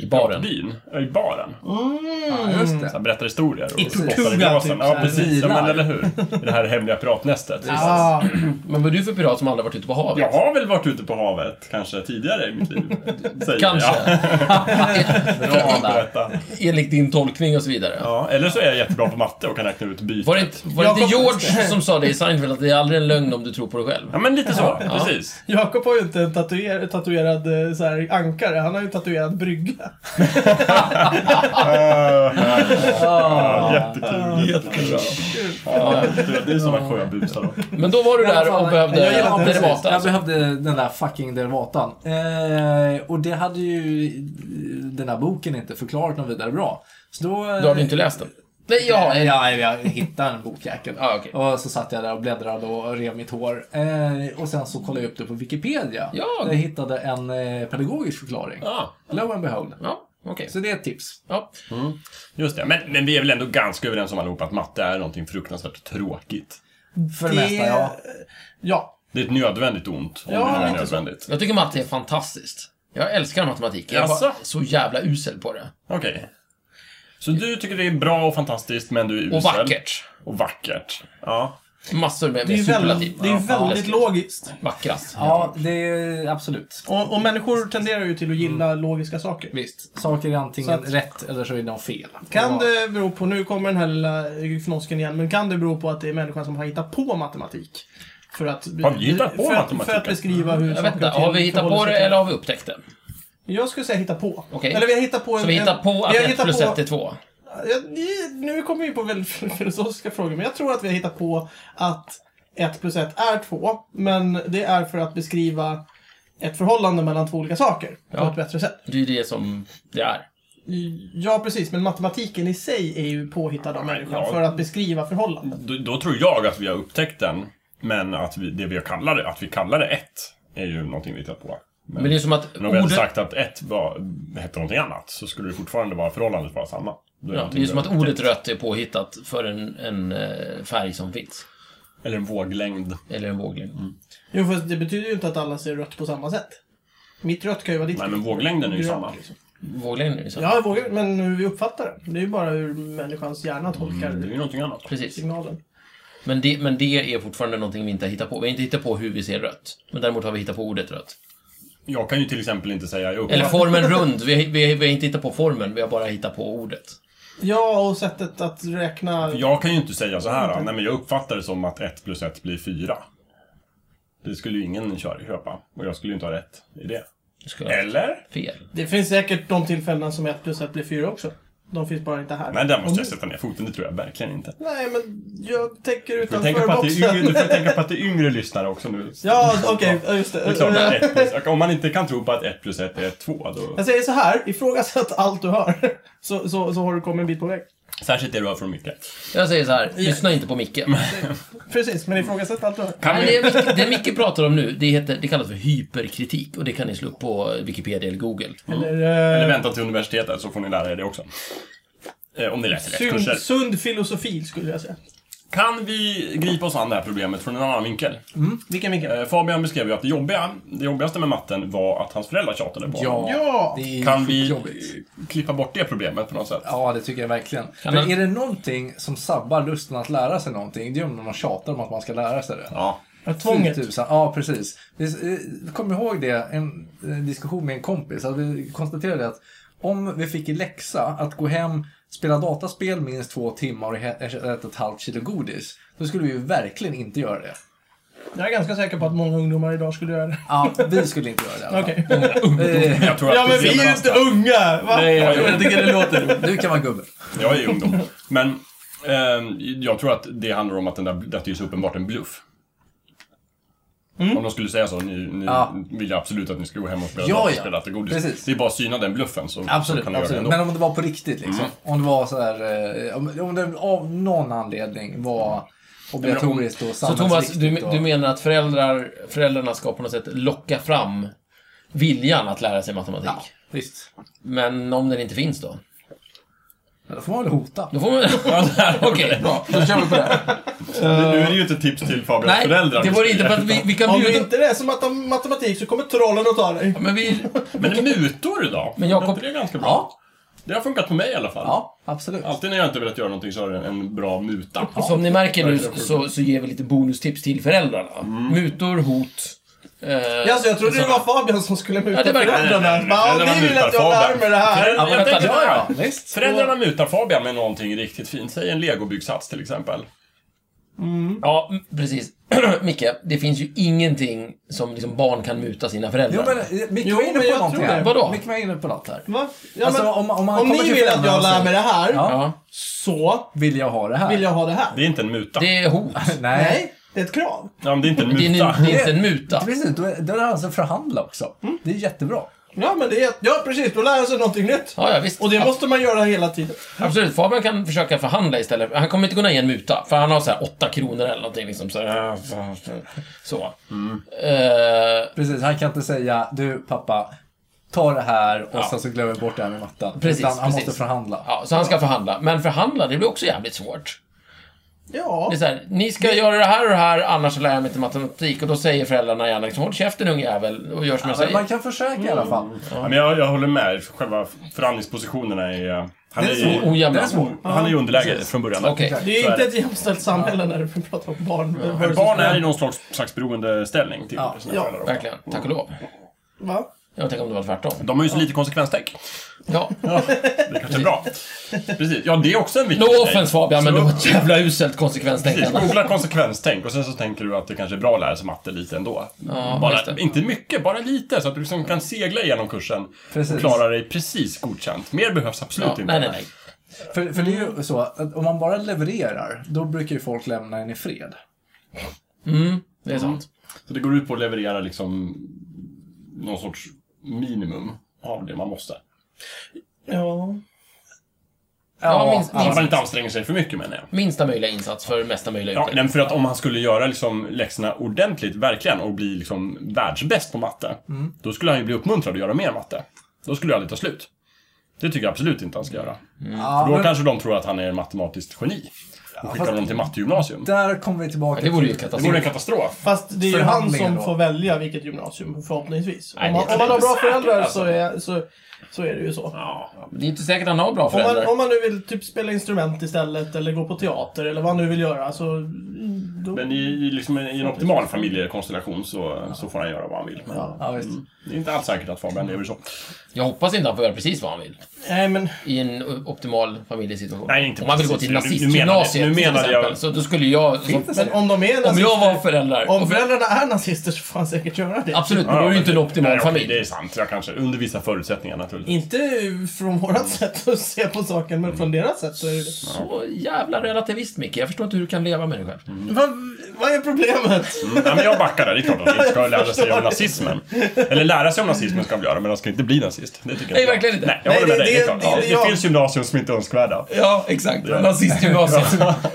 [SPEAKER 2] I baren.
[SPEAKER 3] byn, eh, i baren.
[SPEAKER 4] Ja, just det.
[SPEAKER 3] Så här, berättar historier och
[SPEAKER 1] Mm. I
[SPEAKER 3] spottar i
[SPEAKER 1] Tortuga,
[SPEAKER 3] glasen.
[SPEAKER 1] typ, så
[SPEAKER 3] Ja,
[SPEAKER 1] här,
[SPEAKER 3] precis. Ja, men,
[SPEAKER 4] vilar.
[SPEAKER 3] eller hur? I det här hemliga piratnästet.
[SPEAKER 1] Ah,
[SPEAKER 2] Men vad är du för pirat som aldrig varit ute på havet?
[SPEAKER 3] Jag har väl varit ute på havet, kanske tidigare i mitt liv. säger
[SPEAKER 2] Kanske.
[SPEAKER 3] Jag. Bra, berätta.
[SPEAKER 2] Enligt din tolkning och så vidare.
[SPEAKER 3] Ja, eller så är jag jättebra på matte och kan räkna ut bytet.
[SPEAKER 2] Var det inte, var det
[SPEAKER 1] Jag
[SPEAKER 2] inte
[SPEAKER 1] kom-
[SPEAKER 2] George som sa det i Seinfeld att det är aldrig en lögn om du tror på dig själv?
[SPEAKER 3] Ja, men lite så. Precis.
[SPEAKER 1] Jakob har ju inte en tatuer, tatuerad eh, så här, ankare, han har ju en tatuerad brygga.
[SPEAKER 2] Ah,
[SPEAKER 3] Ja, jättekul. Jättebra. Ja, jättekul. det är såna sjöbusar då.
[SPEAKER 2] Men då var du
[SPEAKER 4] I alla
[SPEAKER 2] där
[SPEAKER 4] fall,
[SPEAKER 2] och behövde
[SPEAKER 1] jag gillar inte
[SPEAKER 2] derivata.
[SPEAKER 4] precis. Alltså, Jag
[SPEAKER 2] alltså.
[SPEAKER 4] behövde den där fucking derivatan. Eh, och det hade ju den där boken inte förklarat något vidare bra. Så då...
[SPEAKER 2] Du hade inte läst den? Nej,
[SPEAKER 4] Ja,
[SPEAKER 2] jag
[SPEAKER 4] ja, jag hittade en bokjäkel.
[SPEAKER 2] Ah, okej.
[SPEAKER 4] Och så satt jag där och bläddrade och rev mitt hår. Eh, och sen så kollade jag upp det på Wikipedia.
[SPEAKER 2] Ja.
[SPEAKER 4] Där jag hittade en eh, pedagogisk förklaring.
[SPEAKER 2] Ja,
[SPEAKER 4] Lo and behold.
[SPEAKER 2] ja Ah, okej.
[SPEAKER 4] Så det är ett tips.
[SPEAKER 2] Ja.
[SPEAKER 3] Just det. Men, men vi är väl ändå ganska överens om allihopa att matte är någonting fruktansvärt tråkigt.
[SPEAKER 4] För det, mesta, ja.
[SPEAKER 1] Ja.
[SPEAKER 3] Det är ett nödvändigt ont, om
[SPEAKER 1] Ja,
[SPEAKER 3] det nu är
[SPEAKER 1] lite så.
[SPEAKER 3] nödvändigt.
[SPEAKER 2] Jag tycker matte är fantastiskt. Jag älskar matematik. Jag är
[SPEAKER 3] Jaså?
[SPEAKER 2] bara så jävla usel på det.
[SPEAKER 3] Okej. Så du tycker det är bra och fantastiskt, men du är usel.
[SPEAKER 2] Och vackert.
[SPEAKER 3] Och vackert. Ja.
[SPEAKER 2] Massor med,
[SPEAKER 1] Det är
[SPEAKER 2] med
[SPEAKER 1] ju väldigt,
[SPEAKER 2] superlativ.
[SPEAKER 1] det är ju väldigt
[SPEAKER 2] läskigt.
[SPEAKER 1] logiskt.
[SPEAKER 2] Vackrast.
[SPEAKER 4] Ja, det är absolut.
[SPEAKER 1] Och, och människor tenderar ju till att gilla
[SPEAKER 3] Mm.
[SPEAKER 1] logiska saker.
[SPEAKER 4] Visst, saker är antingen
[SPEAKER 1] Så att-
[SPEAKER 4] rätt eller så är de fel.
[SPEAKER 1] Kan
[SPEAKER 4] Och-
[SPEAKER 1] det bero på, nu kommer den här lilla fnosken igen, men kan det bero på att det är människan som har hittat på matematik? För att,
[SPEAKER 3] Har vi hittat på
[SPEAKER 1] för, att-
[SPEAKER 3] matematik?
[SPEAKER 1] För att beskriva hur
[SPEAKER 2] Jag vet inte,
[SPEAKER 1] saker och
[SPEAKER 2] har vi
[SPEAKER 1] ting
[SPEAKER 2] hittat på
[SPEAKER 1] förhåller sig
[SPEAKER 2] det
[SPEAKER 1] till-
[SPEAKER 2] eller har vi upptäckt det?
[SPEAKER 1] Jag skulle säga hitta på.
[SPEAKER 2] Okej.
[SPEAKER 1] Eller vi har hittat på en...
[SPEAKER 2] Så vi hittar
[SPEAKER 1] en-
[SPEAKER 2] på att
[SPEAKER 1] vi har
[SPEAKER 2] 1
[SPEAKER 1] hittat
[SPEAKER 2] plus
[SPEAKER 1] på-
[SPEAKER 2] 1 är 2.
[SPEAKER 1] Ja, ni- Nu kommer vi på väldigt filosofiska frågor, men jag tror att vi har hittat på att 1 plus 1 är 2. Men det är för att beskriva ett förhållande mellan två olika saker på
[SPEAKER 2] Ja.
[SPEAKER 1] ett bättre sätt.
[SPEAKER 2] Det är ju det som det är.
[SPEAKER 1] Ja, precis. Men matematiken i sig är ju påhittad av människan
[SPEAKER 3] ja.
[SPEAKER 1] för att beskriva förhållanden.
[SPEAKER 3] Då, då tror jag att vi har upptäckt den, men att vi, det vi kallar det, att vi kallar det ett, är ju någonting vi tittar på. Men,
[SPEAKER 2] Men det är som att
[SPEAKER 3] om vi hade
[SPEAKER 2] ordet,
[SPEAKER 3] sagt att ett var, hette någonting annat, så skulle det fortfarande vara förhållandet vara samma. Då är
[SPEAKER 2] ja, det
[SPEAKER 3] någonting
[SPEAKER 2] är som
[SPEAKER 3] vi
[SPEAKER 2] att
[SPEAKER 3] har
[SPEAKER 2] ordet
[SPEAKER 3] upptäckt.
[SPEAKER 2] rött är påhittat för en, en eh, färg som finns.
[SPEAKER 3] Eller en våglängd.
[SPEAKER 2] Eller en våglängd.
[SPEAKER 3] Mm.
[SPEAKER 1] Jo, fast det betyder ju inte att alla ser rött på samma sätt. Mitt rött kan ju vara ditt
[SPEAKER 3] Nej, men våglängden är ju
[SPEAKER 1] grönt,
[SPEAKER 3] samma.
[SPEAKER 1] liksom.
[SPEAKER 2] Våglängd är ju så.
[SPEAKER 1] Ja, jag vågar, men hur vi uppfattar det. Det är ju bara hur människans hjärna tolkar
[SPEAKER 3] Det är ju någonting annat.
[SPEAKER 2] Precis.
[SPEAKER 1] signalen.
[SPEAKER 2] Men det, men det är fortfarande någonting vi inte har hittat på. Vi har inte hittat på hur vi ser rött. Men däremot har vi hittat på ordet rött.
[SPEAKER 3] Jag kan ju till exempel inte säga jag
[SPEAKER 2] Eller
[SPEAKER 3] uppfattar...
[SPEAKER 2] formen rund. Vi, vi, vi har inte hittat på formen, vi har bara hittat på ordet.
[SPEAKER 1] Ja, och sättet att räkna.
[SPEAKER 3] Jag kan ju inte säga så här, nej men jag uppfattar det som att ett plus ett blir fyra. Det skulle ju ingen köra- köpa, och jag skulle ju inte ha rätt i det.
[SPEAKER 2] Det skulle vara
[SPEAKER 3] Eller?
[SPEAKER 2] fel.
[SPEAKER 1] Det finns säkert de tillfällen som 1 plus 1 blir 4 också. De finns bara inte här.
[SPEAKER 3] Nej, där måste
[SPEAKER 1] Och-
[SPEAKER 3] jag sätta ner foten, det tror jag verkligen inte.
[SPEAKER 1] Nej, men jag tänker
[SPEAKER 3] Du får,
[SPEAKER 1] utanför
[SPEAKER 3] tänka på att det är
[SPEAKER 1] boxen.
[SPEAKER 3] yngre, du får tänka på att det är yngre lyssnare också nu.
[SPEAKER 1] Ja, okej, ja, just det.
[SPEAKER 3] Det är klart att ett plus, och om man inte kan tro på att ett plus ett är två, då...
[SPEAKER 1] Jag säger så här, ifrågasätt allt du hör. Så, så, så har du kommit en bit på väg.
[SPEAKER 3] Särskilt det du har från Micke.
[SPEAKER 2] Jag säger så här, lyssna inte på Micke.
[SPEAKER 1] Precis, men ifrågasätt allt du hör.
[SPEAKER 3] Kan
[SPEAKER 2] Nej,
[SPEAKER 3] vi...
[SPEAKER 2] det, Micke det Micke pratar om nu, det, heter, det kallas för hyperkritik och det kan ni slå upp på Wikipedia eller Google.
[SPEAKER 1] Eller, eh,
[SPEAKER 3] Eller vänta till universitetet så får ni lära er det också. Eh, Om ni läser rätt kurser.
[SPEAKER 1] sund, sund filosofi skulle jag säga.
[SPEAKER 3] Kan vi gripa oss an det här problemet från en annan vinkel?
[SPEAKER 1] Vilken, vilken?
[SPEAKER 3] Eh, Fabian beskrev ju att det, jobbiga, det jobbigaste med matten var att hans föräldrar tjatade på honom.
[SPEAKER 1] Ja.
[SPEAKER 4] det är
[SPEAKER 3] Kan vi
[SPEAKER 4] jobbigt.
[SPEAKER 3] eh, klippa bort det problemet på något sätt?
[SPEAKER 4] Ja, det tycker jag verkligen. Men
[SPEAKER 2] Kan man-
[SPEAKER 4] är det någonting som sabbar lusten att lära sig någonting, det är om någon tjatar om att man ska lära sig det.
[SPEAKER 3] Ja.
[SPEAKER 1] Ja, tvånget.
[SPEAKER 4] Fy Tusan. Ja, precis. Det är- eh, Kom ihåg det, en en diskussion med en kompis, att vi konstaterade att om vi fick i läxa att gå hem, spela dataspel minst två timmar och he- äta ett halvt kilo godis, då skulle vi ju verkligen inte göra det.
[SPEAKER 1] Jag är ganska säker på att många ungdomar idag skulle göra det.
[SPEAKER 4] Ja, vi skulle inte göra det i alla fall.
[SPEAKER 1] Okej.
[SPEAKER 4] Eh,
[SPEAKER 3] Jag tror att
[SPEAKER 1] Ja, men vi
[SPEAKER 3] problemen
[SPEAKER 1] är ju inte
[SPEAKER 3] någonstans-
[SPEAKER 1] unga! Va?
[SPEAKER 3] Nej, jag, jag,
[SPEAKER 4] Jag tycker det låter... Du kan vara gubbe.
[SPEAKER 3] Jag är ju ungdom. Men eh, jag tror att det handlar om att den där, att det är så uppenbart en bluff. Om de skulle säga så, ni, ni
[SPEAKER 4] Ja.
[SPEAKER 3] vill ju absolut att ni ska gå hem och spela
[SPEAKER 4] Ja, ja.
[SPEAKER 3] dataspel, äta godis.
[SPEAKER 4] Precis.
[SPEAKER 3] Det är bara att syna den bluffen så, så
[SPEAKER 4] Absolut,
[SPEAKER 3] kan ni göra det
[SPEAKER 4] absolut.
[SPEAKER 3] ändå.
[SPEAKER 4] men om det var på riktigt liksom. Om det var så här, eh, om, om det av någon anledning var obligatoriskt och
[SPEAKER 2] Så Thomas,
[SPEAKER 4] samhällsviktigt.
[SPEAKER 2] du,
[SPEAKER 4] och,
[SPEAKER 2] du menar att föräldrar, föräldrarna ska på något sätt locka fram viljan att lära sig matematik?
[SPEAKER 4] Ja, visst.
[SPEAKER 2] Men om den inte finns då?
[SPEAKER 4] Ja, Då får man väl hota.
[SPEAKER 2] Då får man... Okej, bra.
[SPEAKER 4] Då kör vi på det.
[SPEAKER 3] Nu är det ju inte ett tips till Fabians
[SPEAKER 2] Nej,
[SPEAKER 3] föräldrar.
[SPEAKER 2] det var det inte. För att vi, vi kan
[SPEAKER 1] Om du
[SPEAKER 2] bjuda...
[SPEAKER 1] inte läser matem- matematik så kommer trollen att ta dig.
[SPEAKER 2] Men vi...
[SPEAKER 3] Men mutor idag,
[SPEAKER 2] Men Jakob-
[SPEAKER 3] är inte det ganska bra?
[SPEAKER 4] Ja,
[SPEAKER 3] Det har funkat på mig i alla fall.
[SPEAKER 4] ja, absolut.
[SPEAKER 3] Alltid när jag inte velat göra någonting så har det en bra muta.
[SPEAKER 2] Som ni märker nu så, så ger vi lite bonustips till föräldrarna. Mutor, hot... Eh,
[SPEAKER 1] Ja, alltså, jag trodde det var Fabian som skulle muta
[SPEAKER 2] Ja, det verkar-
[SPEAKER 1] föräldrarna.
[SPEAKER 3] Föräldrarna
[SPEAKER 1] Bara, Ni vill
[SPEAKER 3] mutar
[SPEAKER 1] att jag lär
[SPEAKER 3] Fabian.
[SPEAKER 1] mig det här.
[SPEAKER 3] Föräldrar-
[SPEAKER 2] men
[SPEAKER 3] jag
[SPEAKER 2] vänta,
[SPEAKER 3] tänkte
[SPEAKER 2] det
[SPEAKER 3] på
[SPEAKER 2] var
[SPEAKER 3] det.
[SPEAKER 2] jag.
[SPEAKER 4] Visst.
[SPEAKER 3] Föräldrarna mutar Fabian med någonting riktigt fint. Säg en legobyggsats till exempel.
[SPEAKER 2] Ja, m- precis. Micke, det finns ju ingenting som liksom barn kan muta sina
[SPEAKER 4] Jo,
[SPEAKER 2] föräldrar.
[SPEAKER 4] men eh, Micke
[SPEAKER 1] Jo,
[SPEAKER 4] var inne
[SPEAKER 1] men jag tror
[SPEAKER 4] på någonting
[SPEAKER 1] det.
[SPEAKER 4] här.
[SPEAKER 2] Vadå?
[SPEAKER 4] Micke var inne på något här.
[SPEAKER 1] Va? Ja,
[SPEAKER 4] Alltså,
[SPEAKER 1] men,
[SPEAKER 4] om- om man kommer
[SPEAKER 1] ni
[SPEAKER 4] till
[SPEAKER 1] vill att
[SPEAKER 4] föräldrarna
[SPEAKER 1] jag
[SPEAKER 4] och
[SPEAKER 1] lär
[SPEAKER 4] säger-
[SPEAKER 1] mig det här,
[SPEAKER 4] Ja.
[SPEAKER 2] Ja,
[SPEAKER 1] så
[SPEAKER 4] Vill jag ha det här?
[SPEAKER 1] vill jag ha det här.
[SPEAKER 3] Det är inte en muta.
[SPEAKER 2] det är hot.
[SPEAKER 4] Nej.
[SPEAKER 1] Nej, det är ett krav.
[SPEAKER 3] Ja, men det är inte en muta.
[SPEAKER 2] Det är, en- det är inte en muta.
[SPEAKER 4] Precis, då är då är det han som förhandlar också. Det är jättebra.
[SPEAKER 1] Ja, men det är, ja precis. Då lär jag sig någonting nytt.
[SPEAKER 2] Ja, ja, visst.
[SPEAKER 1] Och det måste man göra hela tiden.
[SPEAKER 2] Absolut, Fabian kan försöka förhandla istället. Han kommer inte kunna ge en muta, för han har så här 8 kronor eller någonting. Liksom, så. här. så.
[SPEAKER 3] Mm.
[SPEAKER 2] Eh,
[SPEAKER 4] Precis, han kan inte säga du pappa, ta det här och
[SPEAKER 2] Ja.
[SPEAKER 4] sen så glömmer vi bort det här med mattan.
[SPEAKER 2] Precis,
[SPEAKER 4] Utan han
[SPEAKER 2] precis.
[SPEAKER 4] måste förhandla.
[SPEAKER 2] ja, så han ska förhandla. Men förhandla, det blir också jävligt svårt.
[SPEAKER 1] Ja.
[SPEAKER 2] Det är så här, ni ska göra det här och det här, annars så lär jag mig inte matematik. Och då säger föräldrarna gärna liksom, håll käften ungjävel och gör som jag
[SPEAKER 4] Men man
[SPEAKER 2] säger.
[SPEAKER 4] kan försöka i alla
[SPEAKER 2] Mm.
[SPEAKER 4] fall.
[SPEAKER 3] Ja, men jag, jag håller med. Själva förhandlingspositionerna är... eh, Han är,
[SPEAKER 4] Det är
[SPEAKER 3] i-
[SPEAKER 4] svårt.
[SPEAKER 2] Ojämna.
[SPEAKER 4] Det är svårt.
[SPEAKER 3] han är i underläge från början.
[SPEAKER 2] Okej.
[SPEAKER 1] Det är
[SPEAKER 3] Så
[SPEAKER 1] ju
[SPEAKER 3] är
[SPEAKER 1] inte
[SPEAKER 3] det.
[SPEAKER 1] ett jämställt samhälle när vi pratar om barn.
[SPEAKER 3] Men
[SPEAKER 1] versus
[SPEAKER 3] barn är i någon slags, slags beroendeställning till
[SPEAKER 4] Ja,
[SPEAKER 3] sina
[SPEAKER 1] ja,
[SPEAKER 3] föräldrar. också.
[SPEAKER 2] Verkligen. Tack och lov.
[SPEAKER 1] Va?
[SPEAKER 2] Jag tänker om det var tvärtom.
[SPEAKER 3] De har ju så lite konsekvenstänk.
[SPEAKER 2] Ja.
[SPEAKER 3] Det kanske är bra. Precis. Ja, det är också en viktig
[SPEAKER 2] No
[SPEAKER 3] grej.
[SPEAKER 2] offense Fabian, men
[SPEAKER 3] Så-
[SPEAKER 2] det var ett jävla uselt
[SPEAKER 3] Precis,
[SPEAKER 2] konsekvenstänkande.
[SPEAKER 3] Typ. googla konsekvenstänk och sen så tänker du att det kanske är bra att lära sig matte lite ändå.
[SPEAKER 2] just
[SPEAKER 3] bara,
[SPEAKER 2] det.
[SPEAKER 3] inte mycket, bara lite så att du liksom kan segla igenom kursen och
[SPEAKER 4] Precis.
[SPEAKER 3] klara dig precis godkänt. Mer behövs absolut
[SPEAKER 2] Ja,
[SPEAKER 3] inte.
[SPEAKER 2] nej, nej, nej.
[SPEAKER 4] För, för det är ju så att om man bara levererar, då brukar ju folk lämna en i fred.
[SPEAKER 2] Det är sant.
[SPEAKER 3] Så det går ut på att leverera liksom någon sorts minimum av det man måste.
[SPEAKER 1] Ja.
[SPEAKER 2] Ja, minst-
[SPEAKER 4] alla-
[SPEAKER 3] Så att man inte anstränger sig för mycket menar jag.
[SPEAKER 2] Minsta möjliga insats för mesta möjliga
[SPEAKER 3] Ja,
[SPEAKER 2] utdelning.
[SPEAKER 3] nej, för att om han skulle göra liksom läxorna ordentligt, verkligen, och bli liksom världsbäst på matte, då skulle han ju bli uppmuntrad att göra mer matte. Då skulle det aldrig ta slut. Det tycker jag absolut inte han ska göra.
[SPEAKER 4] Ja,
[SPEAKER 3] För då
[SPEAKER 2] Mm.
[SPEAKER 4] men
[SPEAKER 3] kanske de tror att han är matematiskt geni. Och skickar
[SPEAKER 4] fast-
[SPEAKER 3] honom till mattegymnasium.
[SPEAKER 4] Där kommer vi tillbaka
[SPEAKER 2] Ja, det vore ju
[SPEAKER 4] till-
[SPEAKER 3] Det vore en
[SPEAKER 2] katastrof.
[SPEAKER 3] katastrof.
[SPEAKER 1] Fast det är ju han
[SPEAKER 4] Förhandlingen
[SPEAKER 1] som
[SPEAKER 4] då?
[SPEAKER 1] får välja vilket gymnasium, förhoppningsvis. om,
[SPEAKER 2] Nej, det
[SPEAKER 1] man,
[SPEAKER 2] är
[SPEAKER 1] om man har bra
[SPEAKER 3] inte säkert,
[SPEAKER 1] föräldrar
[SPEAKER 3] alltså.
[SPEAKER 1] så, är, så, så är det ju så.
[SPEAKER 3] Ja,
[SPEAKER 2] Det är inte säkert han har bra
[SPEAKER 1] Om man,
[SPEAKER 2] föräldrar.
[SPEAKER 1] om man nu vill typ spela instrument istället, eller gå på teater, eller vad man nu vill göra, så... mm, Då,
[SPEAKER 3] men i, i, liksom, i en optimal familjekonstellation så, så får han göra vad han vill. Men
[SPEAKER 4] Ja, visst.
[SPEAKER 2] Mm.
[SPEAKER 3] det är inte alls säkert att Fabian lever så.
[SPEAKER 2] Jag hoppas inte han får göra precis vad han vill.
[SPEAKER 1] nej, men...
[SPEAKER 2] I en ö- optimal familjesituation.
[SPEAKER 3] Nej, inte
[SPEAKER 2] Om man vill gå
[SPEAKER 3] precis.
[SPEAKER 2] till
[SPEAKER 3] Nu- nu
[SPEAKER 2] nazistgymnasiet
[SPEAKER 3] menade- nu
[SPEAKER 2] till
[SPEAKER 3] menade
[SPEAKER 2] exempel.
[SPEAKER 3] jag-
[SPEAKER 2] Så då skulle jag... Som,
[SPEAKER 1] Men om de är
[SPEAKER 2] om jag var
[SPEAKER 1] nazister,
[SPEAKER 2] föräldrar.
[SPEAKER 1] om
[SPEAKER 2] och för-
[SPEAKER 1] föräldrarna är nazister så får han säkert göra det.
[SPEAKER 2] Absolut, men då är det ju inte en optimal
[SPEAKER 3] Nej, okej,
[SPEAKER 2] familj.
[SPEAKER 3] Det är sant, jag kanske. Under vissa förutsättningar naturligtvis.
[SPEAKER 1] Inte från vårat sätt att se på saken, men från deras sätt så är det det.
[SPEAKER 2] Så jävla relativist, Micke. Jag förstår inte hur du kan leva med dig själv.
[SPEAKER 1] Vad, vad är problemet?
[SPEAKER 3] Mm, nej, men jag backar där. Det är klart att man inte ska lära sig om nazismen. Eller lära sig om nazismen ska man göra, men man ska inte bli nazist. Det tycker jag
[SPEAKER 2] Nej,
[SPEAKER 3] inte.
[SPEAKER 2] verkligen inte.
[SPEAKER 3] Nej, jag
[SPEAKER 1] Nej,
[SPEAKER 3] håller
[SPEAKER 1] det-
[SPEAKER 3] med dig. Det, är klart.
[SPEAKER 1] det- det-
[SPEAKER 3] Ja,
[SPEAKER 1] jag-
[SPEAKER 3] det finns gymnasium som inte är önskvärda.
[SPEAKER 2] Ja, exakt. Nazistgymnasiet.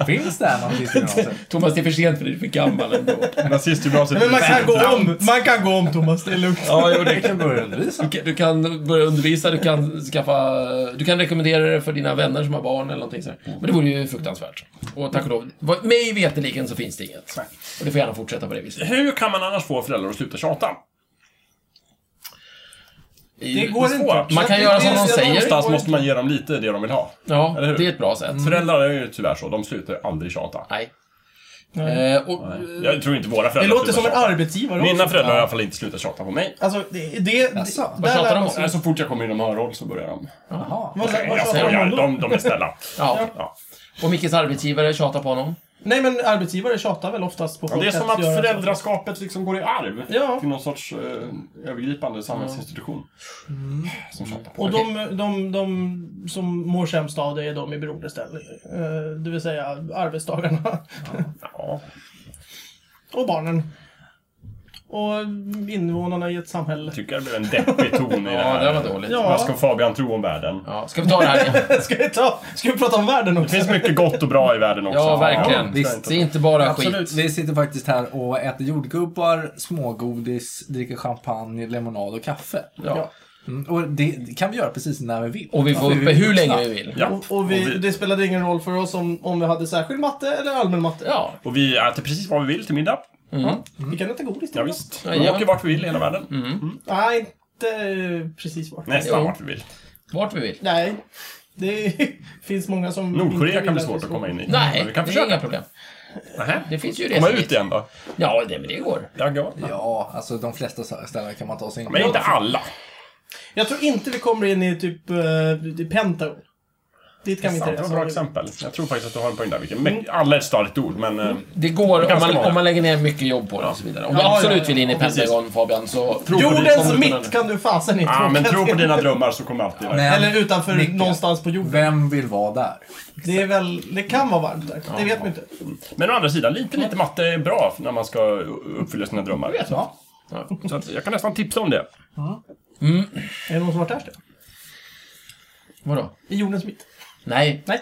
[SPEAKER 4] Finns det här någonting?
[SPEAKER 2] Thomas, det är för sent för dig. Du är för gammal ändå.
[SPEAKER 3] Nazistgymnasiet
[SPEAKER 1] Men man kan
[SPEAKER 3] finns
[SPEAKER 1] gå
[SPEAKER 3] inte.
[SPEAKER 1] om, man kan gå om Thomas, det är lugnt.
[SPEAKER 2] Ja, jo,
[SPEAKER 4] Jag kan börja undervisa.
[SPEAKER 2] Du kan, du kan börja undervisa, du kan skaffa... Du kan rekommendera det för dina vänner som har barn eller någonting sådär. Men det vore ju fruktansvärt. Och tack och lov, vad- mig veterligen så finns det inget. Och det får gärna fortsätta på det viset.
[SPEAKER 3] Hur kan man annars få föräldrar att sluta tjata?
[SPEAKER 1] Det går inte.
[SPEAKER 2] Man kan göra som de säger.
[SPEAKER 3] Någonstans måste man ge dem lite det de vill ha.
[SPEAKER 2] Ja,
[SPEAKER 3] Eller hur?
[SPEAKER 2] det är ett bra sätt.
[SPEAKER 3] Föräldrar är ju tyvärr så, de slutar ju aldrig tjata.
[SPEAKER 2] Nej.
[SPEAKER 1] Nej.
[SPEAKER 2] Eh, och,
[SPEAKER 3] Jag tror inte våra
[SPEAKER 1] Det
[SPEAKER 3] föräldrar
[SPEAKER 1] låter
[SPEAKER 3] slutar
[SPEAKER 1] som en
[SPEAKER 3] tjata.
[SPEAKER 1] arbetsgivare
[SPEAKER 3] Mina
[SPEAKER 1] också.
[SPEAKER 3] föräldrar har i alla fall inte slutat tjata på mig.
[SPEAKER 1] Alltså, det... det, det
[SPEAKER 4] Jaså, vad
[SPEAKER 1] där
[SPEAKER 2] tjatar
[SPEAKER 1] lär
[SPEAKER 2] de
[SPEAKER 1] man
[SPEAKER 2] om?
[SPEAKER 1] sig-
[SPEAKER 3] Nej, Så fort jag kommer inom hörhåll så börjar de.
[SPEAKER 4] Jaha.
[SPEAKER 1] vad-
[SPEAKER 3] Nej,
[SPEAKER 1] vad
[SPEAKER 3] jag
[SPEAKER 1] tjatar de om
[SPEAKER 3] skojar.
[SPEAKER 1] då?
[SPEAKER 3] De, de är snälla.
[SPEAKER 2] ja.
[SPEAKER 3] Ja.
[SPEAKER 2] och Mickes arbetsgivare tjatar på honom.
[SPEAKER 1] Nej, men arbetsgivare tjatar väl oftast på folk
[SPEAKER 3] Det är som att
[SPEAKER 1] göra så.
[SPEAKER 3] föräldraskapet liksom går i arv
[SPEAKER 1] Ja.
[SPEAKER 3] till någon sorts eh, övergripande samhällsinstitution. Som tjatar på.
[SPEAKER 1] Och de, de, de som mår sämst av det är de i beroendeställning. Eh, Det vill säga arbetstagarna.
[SPEAKER 3] Ja.
[SPEAKER 1] Och barnen. Och invånarna i ett samhälle.
[SPEAKER 3] Jag tycker det blev en deppig ton i det
[SPEAKER 2] Ja,
[SPEAKER 3] här.
[SPEAKER 2] det var dåligt.
[SPEAKER 1] Ja.
[SPEAKER 3] Vad ska Fabian tro om världen?
[SPEAKER 2] Ja, ska vi ta det här?
[SPEAKER 1] Ska vi, ta, ska vi prata om världen
[SPEAKER 3] Det
[SPEAKER 1] också?
[SPEAKER 3] finns mycket gott och bra i världen också.
[SPEAKER 2] Ja, verkligen.
[SPEAKER 3] det är inte-
[SPEAKER 2] Det är inte bara skit.
[SPEAKER 4] Absolut. Vi sitter faktiskt här och äter jordgubbar, smågodis, dricker champagne, lemonad och kaffe.
[SPEAKER 2] Ja.
[SPEAKER 4] Mm, och det kan vi göra precis när vi vill.
[SPEAKER 2] Och vi får
[SPEAKER 4] För
[SPEAKER 2] uppe
[SPEAKER 4] är
[SPEAKER 2] hur länge
[SPEAKER 4] vuxna.
[SPEAKER 2] vi vill.
[SPEAKER 3] Ja.
[SPEAKER 1] Och, och vi, det spelade ingen roll för oss om, om vi hade särskild matte eller allmän matte.
[SPEAKER 2] Ja,
[SPEAKER 3] och vi äter precis vad vi vill till middag.
[SPEAKER 1] Vi kan inte godis till
[SPEAKER 3] Ja,
[SPEAKER 1] varandra.
[SPEAKER 3] visst.
[SPEAKER 2] Ja,
[SPEAKER 3] Vi
[SPEAKER 2] ja.
[SPEAKER 3] åker vart vi vill i hela världen.
[SPEAKER 1] Mm. Nej, inte eh, precis vart. Nej.
[SPEAKER 3] Nästan
[SPEAKER 2] Jo.
[SPEAKER 3] vart vi vill.
[SPEAKER 2] vart vi vill.
[SPEAKER 1] Det finns många som... inte
[SPEAKER 3] Nordkorea
[SPEAKER 1] vill
[SPEAKER 3] kan bli
[SPEAKER 1] att vi
[SPEAKER 3] svårt
[SPEAKER 1] ska-
[SPEAKER 3] att komma in i.
[SPEAKER 2] Nej,
[SPEAKER 3] Men vi kan
[SPEAKER 2] det är inga
[SPEAKER 3] försöka.
[SPEAKER 2] problem.
[SPEAKER 3] Nähä.
[SPEAKER 2] Det finns ju
[SPEAKER 3] Komma
[SPEAKER 2] resor
[SPEAKER 3] ut
[SPEAKER 2] dit.
[SPEAKER 3] igen då.
[SPEAKER 2] Ja, det, men det går.
[SPEAKER 3] Ja, ja.
[SPEAKER 4] Ja, alltså de flesta ställen kan man ta sig in
[SPEAKER 3] Men
[SPEAKER 4] på.
[SPEAKER 3] inte alla.
[SPEAKER 1] Jag tror inte vi kommer in i typ eh, i Pentagon. Dit kan vi
[SPEAKER 3] Sant,
[SPEAKER 1] inte
[SPEAKER 3] det var ett bra exempel. Jag tror faktiskt att du har en poäng där, Micke.
[SPEAKER 2] Mm.
[SPEAKER 3] Men Alla är ett starkt ord, men... eh,
[SPEAKER 2] Det går om
[SPEAKER 3] Ganska
[SPEAKER 2] man,
[SPEAKER 3] många.
[SPEAKER 2] om man lägger ner mycket jobb på det och så vidare. Om du
[SPEAKER 1] Ja, ja,
[SPEAKER 2] absolut
[SPEAKER 1] ja,
[SPEAKER 2] vill in i
[SPEAKER 1] ja, precis.
[SPEAKER 2] Pentagon, Fabian, så...
[SPEAKER 3] Tro på ditt-
[SPEAKER 1] Jordens mitt kan du fasen inte
[SPEAKER 3] Ja,
[SPEAKER 1] åka
[SPEAKER 3] ah, men tro på
[SPEAKER 1] till.
[SPEAKER 3] dina
[SPEAKER 2] Mm.
[SPEAKER 3] drömmar så kommer alltid vara.
[SPEAKER 4] Men
[SPEAKER 1] Eller utanför
[SPEAKER 4] Micke.
[SPEAKER 1] någonstans på jorden.
[SPEAKER 4] vem vill vara där?
[SPEAKER 1] Det är väl... Det kan vara varmt där. Det vet vi inte.
[SPEAKER 3] Men å andra sidan, lite, lite matte är bra när man ska uppfylla sina drömmar. Jag vet
[SPEAKER 4] Ja.
[SPEAKER 3] Så att jag kan nästan tipsa om det.
[SPEAKER 1] Är det någon som har varit där?
[SPEAKER 2] Vadå?
[SPEAKER 1] I jordens mitt?
[SPEAKER 2] Nej.
[SPEAKER 1] Nej.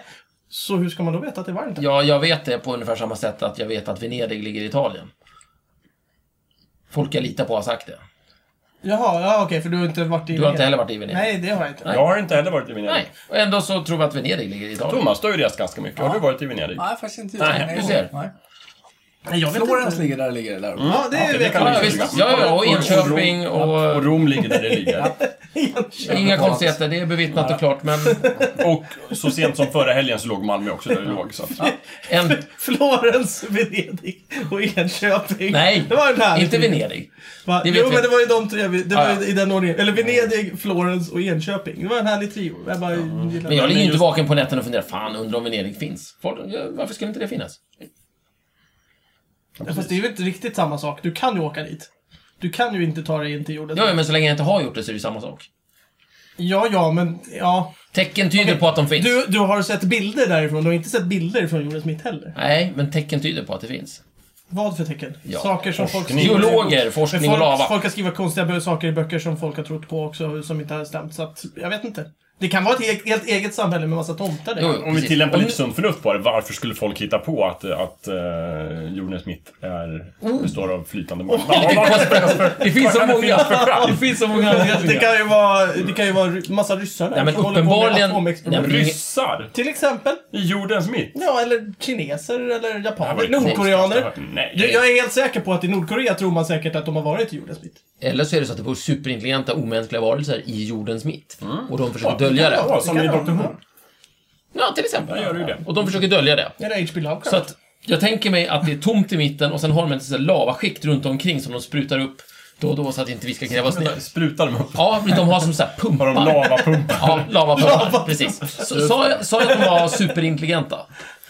[SPEAKER 1] Så hur ska man då veta att det är varmt där?
[SPEAKER 2] Ja, jag vet det på ungefär samma sätt att jag vet att Venedig ligger i Italien. Folk jag litar på har sagt det.
[SPEAKER 1] Jaha, ja, okej, för du har inte varit i...
[SPEAKER 2] Du har inte heller varit i Venedig?
[SPEAKER 1] Nej, det har jag inte.
[SPEAKER 3] Jag har inte heller varit i Venedig.
[SPEAKER 2] Nej. Och ändå så tror vi att Venedig ligger i Italien.
[SPEAKER 3] Thomas, du har ju rest ganska mycket. Har du varit i Venedig?
[SPEAKER 4] Nej, faktiskt inte.
[SPEAKER 2] Nej, du ser.
[SPEAKER 4] Nej.
[SPEAKER 1] Nej, jag vet inte.
[SPEAKER 4] Florens
[SPEAKER 1] Mm.
[SPEAKER 4] ligger där, ligger där.
[SPEAKER 1] Ja, det
[SPEAKER 3] det
[SPEAKER 1] vet
[SPEAKER 3] kan
[SPEAKER 1] jag.
[SPEAKER 2] Ja, visst. Ja, ja, och Enköping
[SPEAKER 3] Och
[SPEAKER 2] och...
[SPEAKER 3] Rom ligger där det ligger.
[SPEAKER 2] Inga konstigheter, det är bevittnat och klart, men...
[SPEAKER 3] Och så sent som förra helgen så låg Malmö också där det låg. Så. att-
[SPEAKER 2] En...
[SPEAKER 1] Florens, Venedig och Enköping.
[SPEAKER 2] Nej,
[SPEAKER 1] Det var den här.
[SPEAKER 2] inte Venedig.
[SPEAKER 1] Va?
[SPEAKER 2] Det vet
[SPEAKER 1] jo,
[SPEAKER 2] vi.
[SPEAKER 1] men det var ju de tre. vi- Det var
[SPEAKER 2] Ja,
[SPEAKER 1] ju i den ordningen. Eller Venedig, Florens och Enköping. Det var en härlig trio. Jag bara gillar
[SPEAKER 2] Men
[SPEAKER 1] det.
[SPEAKER 2] jag ligger ju inte
[SPEAKER 3] just-
[SPEAKER 2] vaken på nätterna och funderar, fan, undrar om Venedig finns? Folk, ja, varför skulle inte det finnas?
[SPEAKER 1] Fast det är ju inte riktigt samma sak. Du kan ju åka dit. Du kan ju inte ta dig in till jorden.
[SPEAKER 2] Ja, ja, men så länge jag inte har gjort det så är det ju samma sak.
[SPEAKER 1] ja, ja, men ja.
[SPEAKER 2] Tecken tyder på att de finns.
[SPEAKER 1] Du, du har sett bilder därifrån. Du har inte sett bilder från jordens mitt heller.
[SPEAKER 2] Nej, men tecken tyder på att det finns.
[SPEAKER 1] Vad för tecken?
[SPEAKER 2] Ja.
[SPEAKER 1] Saker som folk
[SPEAKER 3] Forskning.
[SPEAKER 2] Geologer, forskning och
[SPEAKER 1] folk,
[SPEAKER 2] lava.
[SPEAKER 1] folk har skrivit konstiga bö- saker i böcker som folk har trott på också, som inte har stämt. Så att, jag vet inte. Det kan vara ett helt, helt eget samhälle med massa tomtar där.
[SPEAKER 2] Jo,
[SPEAKER 3] Om vi
[SPEAKER 2] precis.
[SPEAKER 3] tillämpar
[SPEAKER 2] Om-
[SPEAKER 3] lite sunt förnuft på det, varför skulle folk hitta på att, att eh, jordens mitt är, består av flytande mat? Vad- vad-
[SPEAKER 2] Det finns så många.
[SPEAKER 3] vad-
[SPEAKER 2] Det finns så många
[SPEAKER 1] Det, det,
[SPEAKER 2] anledningar.
[SPEAKER 1] kan ju vara, det kan ju vara ry- massa ryssar där
[SPEAKER 2] Nej, men
[SPEAKER 1] som håller på med
[SPEAKER 2] uppenbarligen-
[SPEAKER 1] atomexperiment.
[SPEAKER 2] Nej, men-
[SPEAKER 3] Ryssar
[SPEAKER 1] Till exempel.
[SPEAKER 3] i jordens mitt?
[SPEAKER 1] Ja, eller kineser eller
[SPEAKER 3] Det här var
[SPEAKER 1] japaner.
[SPEAKER 3] det konstigaste jag
[SPEAKER 1] Nordkoreaner.
[SPEAKER 3] hört. Nej.
[SPEAKER 1] Jag, jag är helt säker på att i Nordkorea tror man säkert att de har varit i jordens mitt.
[SPEAKER 2] Eller så är det så att det bor superintelligenta omänskliga varelser i jordens mitt. Och de försöker dölja Mm. det.
[SPEAKER 3] Ja, som i Dr. Who.
[SPEAKER 2] Ja, till
[SPEAKER 3] Där gör
[SPEAKER 2] exempel.
[SPEAKER 3] du ju det.
[SPEAKER 2] Och de försöker dölja det.
[SPEAKER 1] Eller H.P. Lovecraft.
[SPEAKER 2] Så att jag tänker mig att det är tomt i mitten och sen har de ett sånt här lavaskikt runt omkring som de sprutar upp då och då så att inte vi ska grävas ner.
[SPEAKER 3] Sprutar de upp?
[SPEAKER 2] Ja, men de har som så här pumpar.
[SPEAKER 3] Har de lavapumpar?
[SPEAKER 2] Ja, lavapumpar. Precis. Så- Sa jag, sa jag att de var superintelligenta?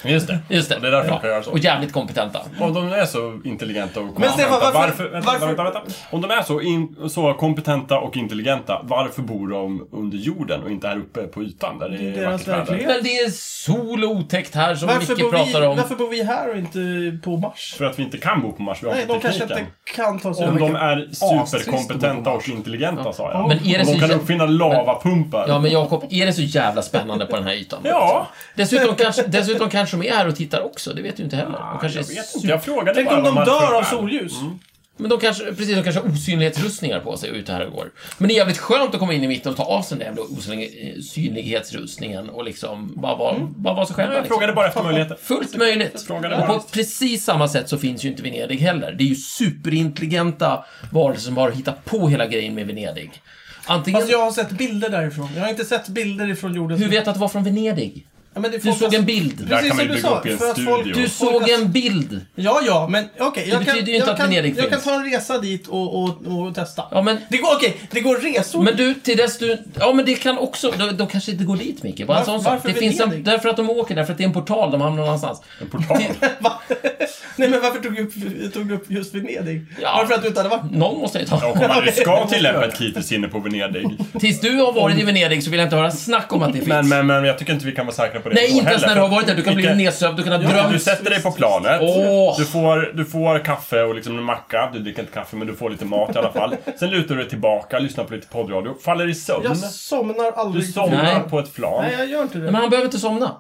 [SPEAKER 3] Just det.
[SPEAKER 2] Just det.
[SPEAKER 3] Och det är därför de kan
[SPEAKER 2] ja.
[SPEAKER 3] göra så.
[SPEAKER 2] Och jävligt kompetenta.
[SPEAKER 3] Om de är så intelligenta och kompetenta,
[SPEAKER 1] Men Stefan, varför-
[SPEAKER 3] vänta,
[SPEAKER 1] varför-
[SPEAKER 3] Vänta, vänta, Om de är så, in, så kompetenta och intelligenta, varför bor de under jorden och inte här uppe på ytan där det
[SPEAKER 1] Det är
[SPEAKER 3] är
[SPEAKER 1] deras
[SPEAKER 3] vackert väder?
[SPEAKER 1] verklighet.
[SPEAKER 2] Men det är sol och otäckt här som
[SPEAKER 1] varför,
[SPEAKER 2] Micke
[SPEAKER 1] bor
[SPEAKER 2] pratar
[SPEAKER 1] vi,
[SPEAKER 2] om.
[SPEAKER 1] varför bor vi här och inte på Mars?
[SPEAKER 3] För att vi inte kan bo på Mars, vi har
[SPEAKER 1] Nej,
[SPEAKER 3] inte
[SPEAKER 1] de kanske
[SPEAKER 3] tekniken.
[SPEAKER 1] inte kan ta sig
[SPEAKER 3] Om
[SPEAKER 1] över.
[SPEAKER 3] de är
[SPEAKER 4] astrist att bo på
[SPEAKER 3] superkompetenta och
[SPEAKER 4] Mars.
[SPEAKER 3] intelligenta, sa jag.
[SPEAKER 2] Men är det
[SPEAKER 3] Och de
[SPEAKER 2] så
[SPEAKER 3] kan
[SPEAKER 2] jä-
[SPEAKER 3] uppfinna lavapumpar.
[SPEAKER 2] Ja, men Jakob, är det så jävla spännande på den här ytan?
[SPEAKER 3] Ja,
[SPEAKER 2] Dessutom kanske, dessutom kanske de är här och tittar också, det vet du inte heller. De kanske
[SPEAKER 3] jag
[SPEAKER 2] är
[SPEAKER 3] vet
[SPEAKER 2] super-
[SPEAKER 3] inte. Jag frågade
[SPEAKER 1] Tänk
[SPEAKER 3] bara Mm.
[SPEAKER 1] om de
[SPEAKER 3] varför
[SPEAKER 1] dör av
[SPEAKER 3] är.
[SPEAKER 1] solljus.
[SPEAKER 2] Men de kanske, precis, de kanske har osynlighetsrustningar på sig och är ute här och går. Men det är jävligt skönt att komma in i mitten och ta av sig den där jävla osynlig- eh, synlighetsrustningen och liksom bara vara, bara vara sig själva.
[SPEAKER 3] Mm. Jag
[SPEAKER 2] liksom.
[SPEAKER 3] frågade bara efter möjligheter.
[SPEAKER 2] Fullt möjligt.
[SPEAKER 3] frågade
[SPEAKER 2] Och
[SPEAKER 3] bara.
[SPEAKER 2] på precis samma sätt så finns ju inte Venedig heller. Det är ju superintelligenta varelser som bara hittar på hela grejen med Venedig. Antingen...
[SPEAKER 1] Fast jag har sett bilder därifrån. Jag har inte sett bilder ifrån jordens
[SPEAKER 2] Hur vet du att det var från Venedig?
[SPEAKER 1] Ja, men det
[SPEAKER 2] Du
[SPEAKER 1] får-
[SPEAKER 2] såg en bild.
[SPEAKER 3] Där kan
[SPEAKER 1] Precis
[SPEAKER 3] man
[SPEAKER 1] som
[SPEAKER 3] ju
[SPEAKER 1] du
[SPEAKER 3] bygga
[SPEAKER 1] sa,
[SPEAKER 3] upp i en
[SPEAKER 1] för att folk-
[SPEAKER 3] studio.
[SPEAKER 2] Du såg en bild.
[SPEAKER 1] Ja, ja, men okej. jag kan,
[SPEAKER 2] betyder ju inte
[SPEAKER 1] jag
[SPEAKER 2] att
[SPEAKER 1] kan,
[SPEAKER 2] Venedig
[SPEAKER 1] Jag kan
[SPEAKER 2] finns.
[SPEAKER 1] ta en resa dit och, och, och testa.
[SPEAKER 2] Ja, men-
[SPEAKER 1] Det går, okej, det går resor.
[SPEAKER 2] Men du, till dess du... Ja, men det kan också... Då, då kanske inte går dit, Micke. Bara en
[SPEAKER 1] Var-
[SPEAKER 2] sån sak.
[SPEAKER 1] varför
[SPEAKER 2] Det finns en,
[SPEAKER 1] Venedig?
[SPEAKER 2] därför att de åker, därför att det är en portal, de hamnar någon annanstans.
[SPEAKER 3] En portal.
[SPEAKER 1] Va? Nej, men varför tog du upp, tog du upp just Venedig?
[SPEAKER 2] Ja.
[SPEAKER 1] Varför att du inte hade varit
[SPEAKER 2] Någon måste ju
[SPEAKER 3] Ja,
[SPEAKER 2] ta...
[SPEAKER 3] om man nu ska tillämpa ett kritiskt sinne på Venedig.
[SPEAKER 2] Tills du har varit i Venedig så vill jag inte höra snack om att det finns.
[SPEAKER 3] Men, men, men jag tycker inte vi kan vara säkra på det
[SPEAKER 2] Nej,
[SPEAKER 3] då
[SPEAKER 2] inte ens
[SPEAKER 3] heller.
[SPEAKER 2] när du har varit där. Du kan bli
[SPEAKER 3] Vilka-
[SPEAKER 2] nedsövd, du kan ha
[SPEAKER 3] Ja, du
[SPEAKER 2] drömt.
[SPEAKER 3] sätter dig på planet,
[SPEAKER 2] Åh.
[SPEAKER 3] du, får, du får kaffe och liksom en macka, du dricker inte kaffe men du får lite mat i alla fall. Sen lutar du dig tillbaka, lyssnar på lite poddradio, faller i sömn.
[SPEAKER 1] Jag somnar
[SPEAKER 3] Mm. Du
[SPEAKER 1] aldrig.
[SPEAKER 3] somnar
[SPEAKER 2] Nej.
[SPEAKER 3] på ett plan.
[SPEAKER 1] Nej, jag gör inte det.
[SPEAKER 2] Men han behöver inte somna.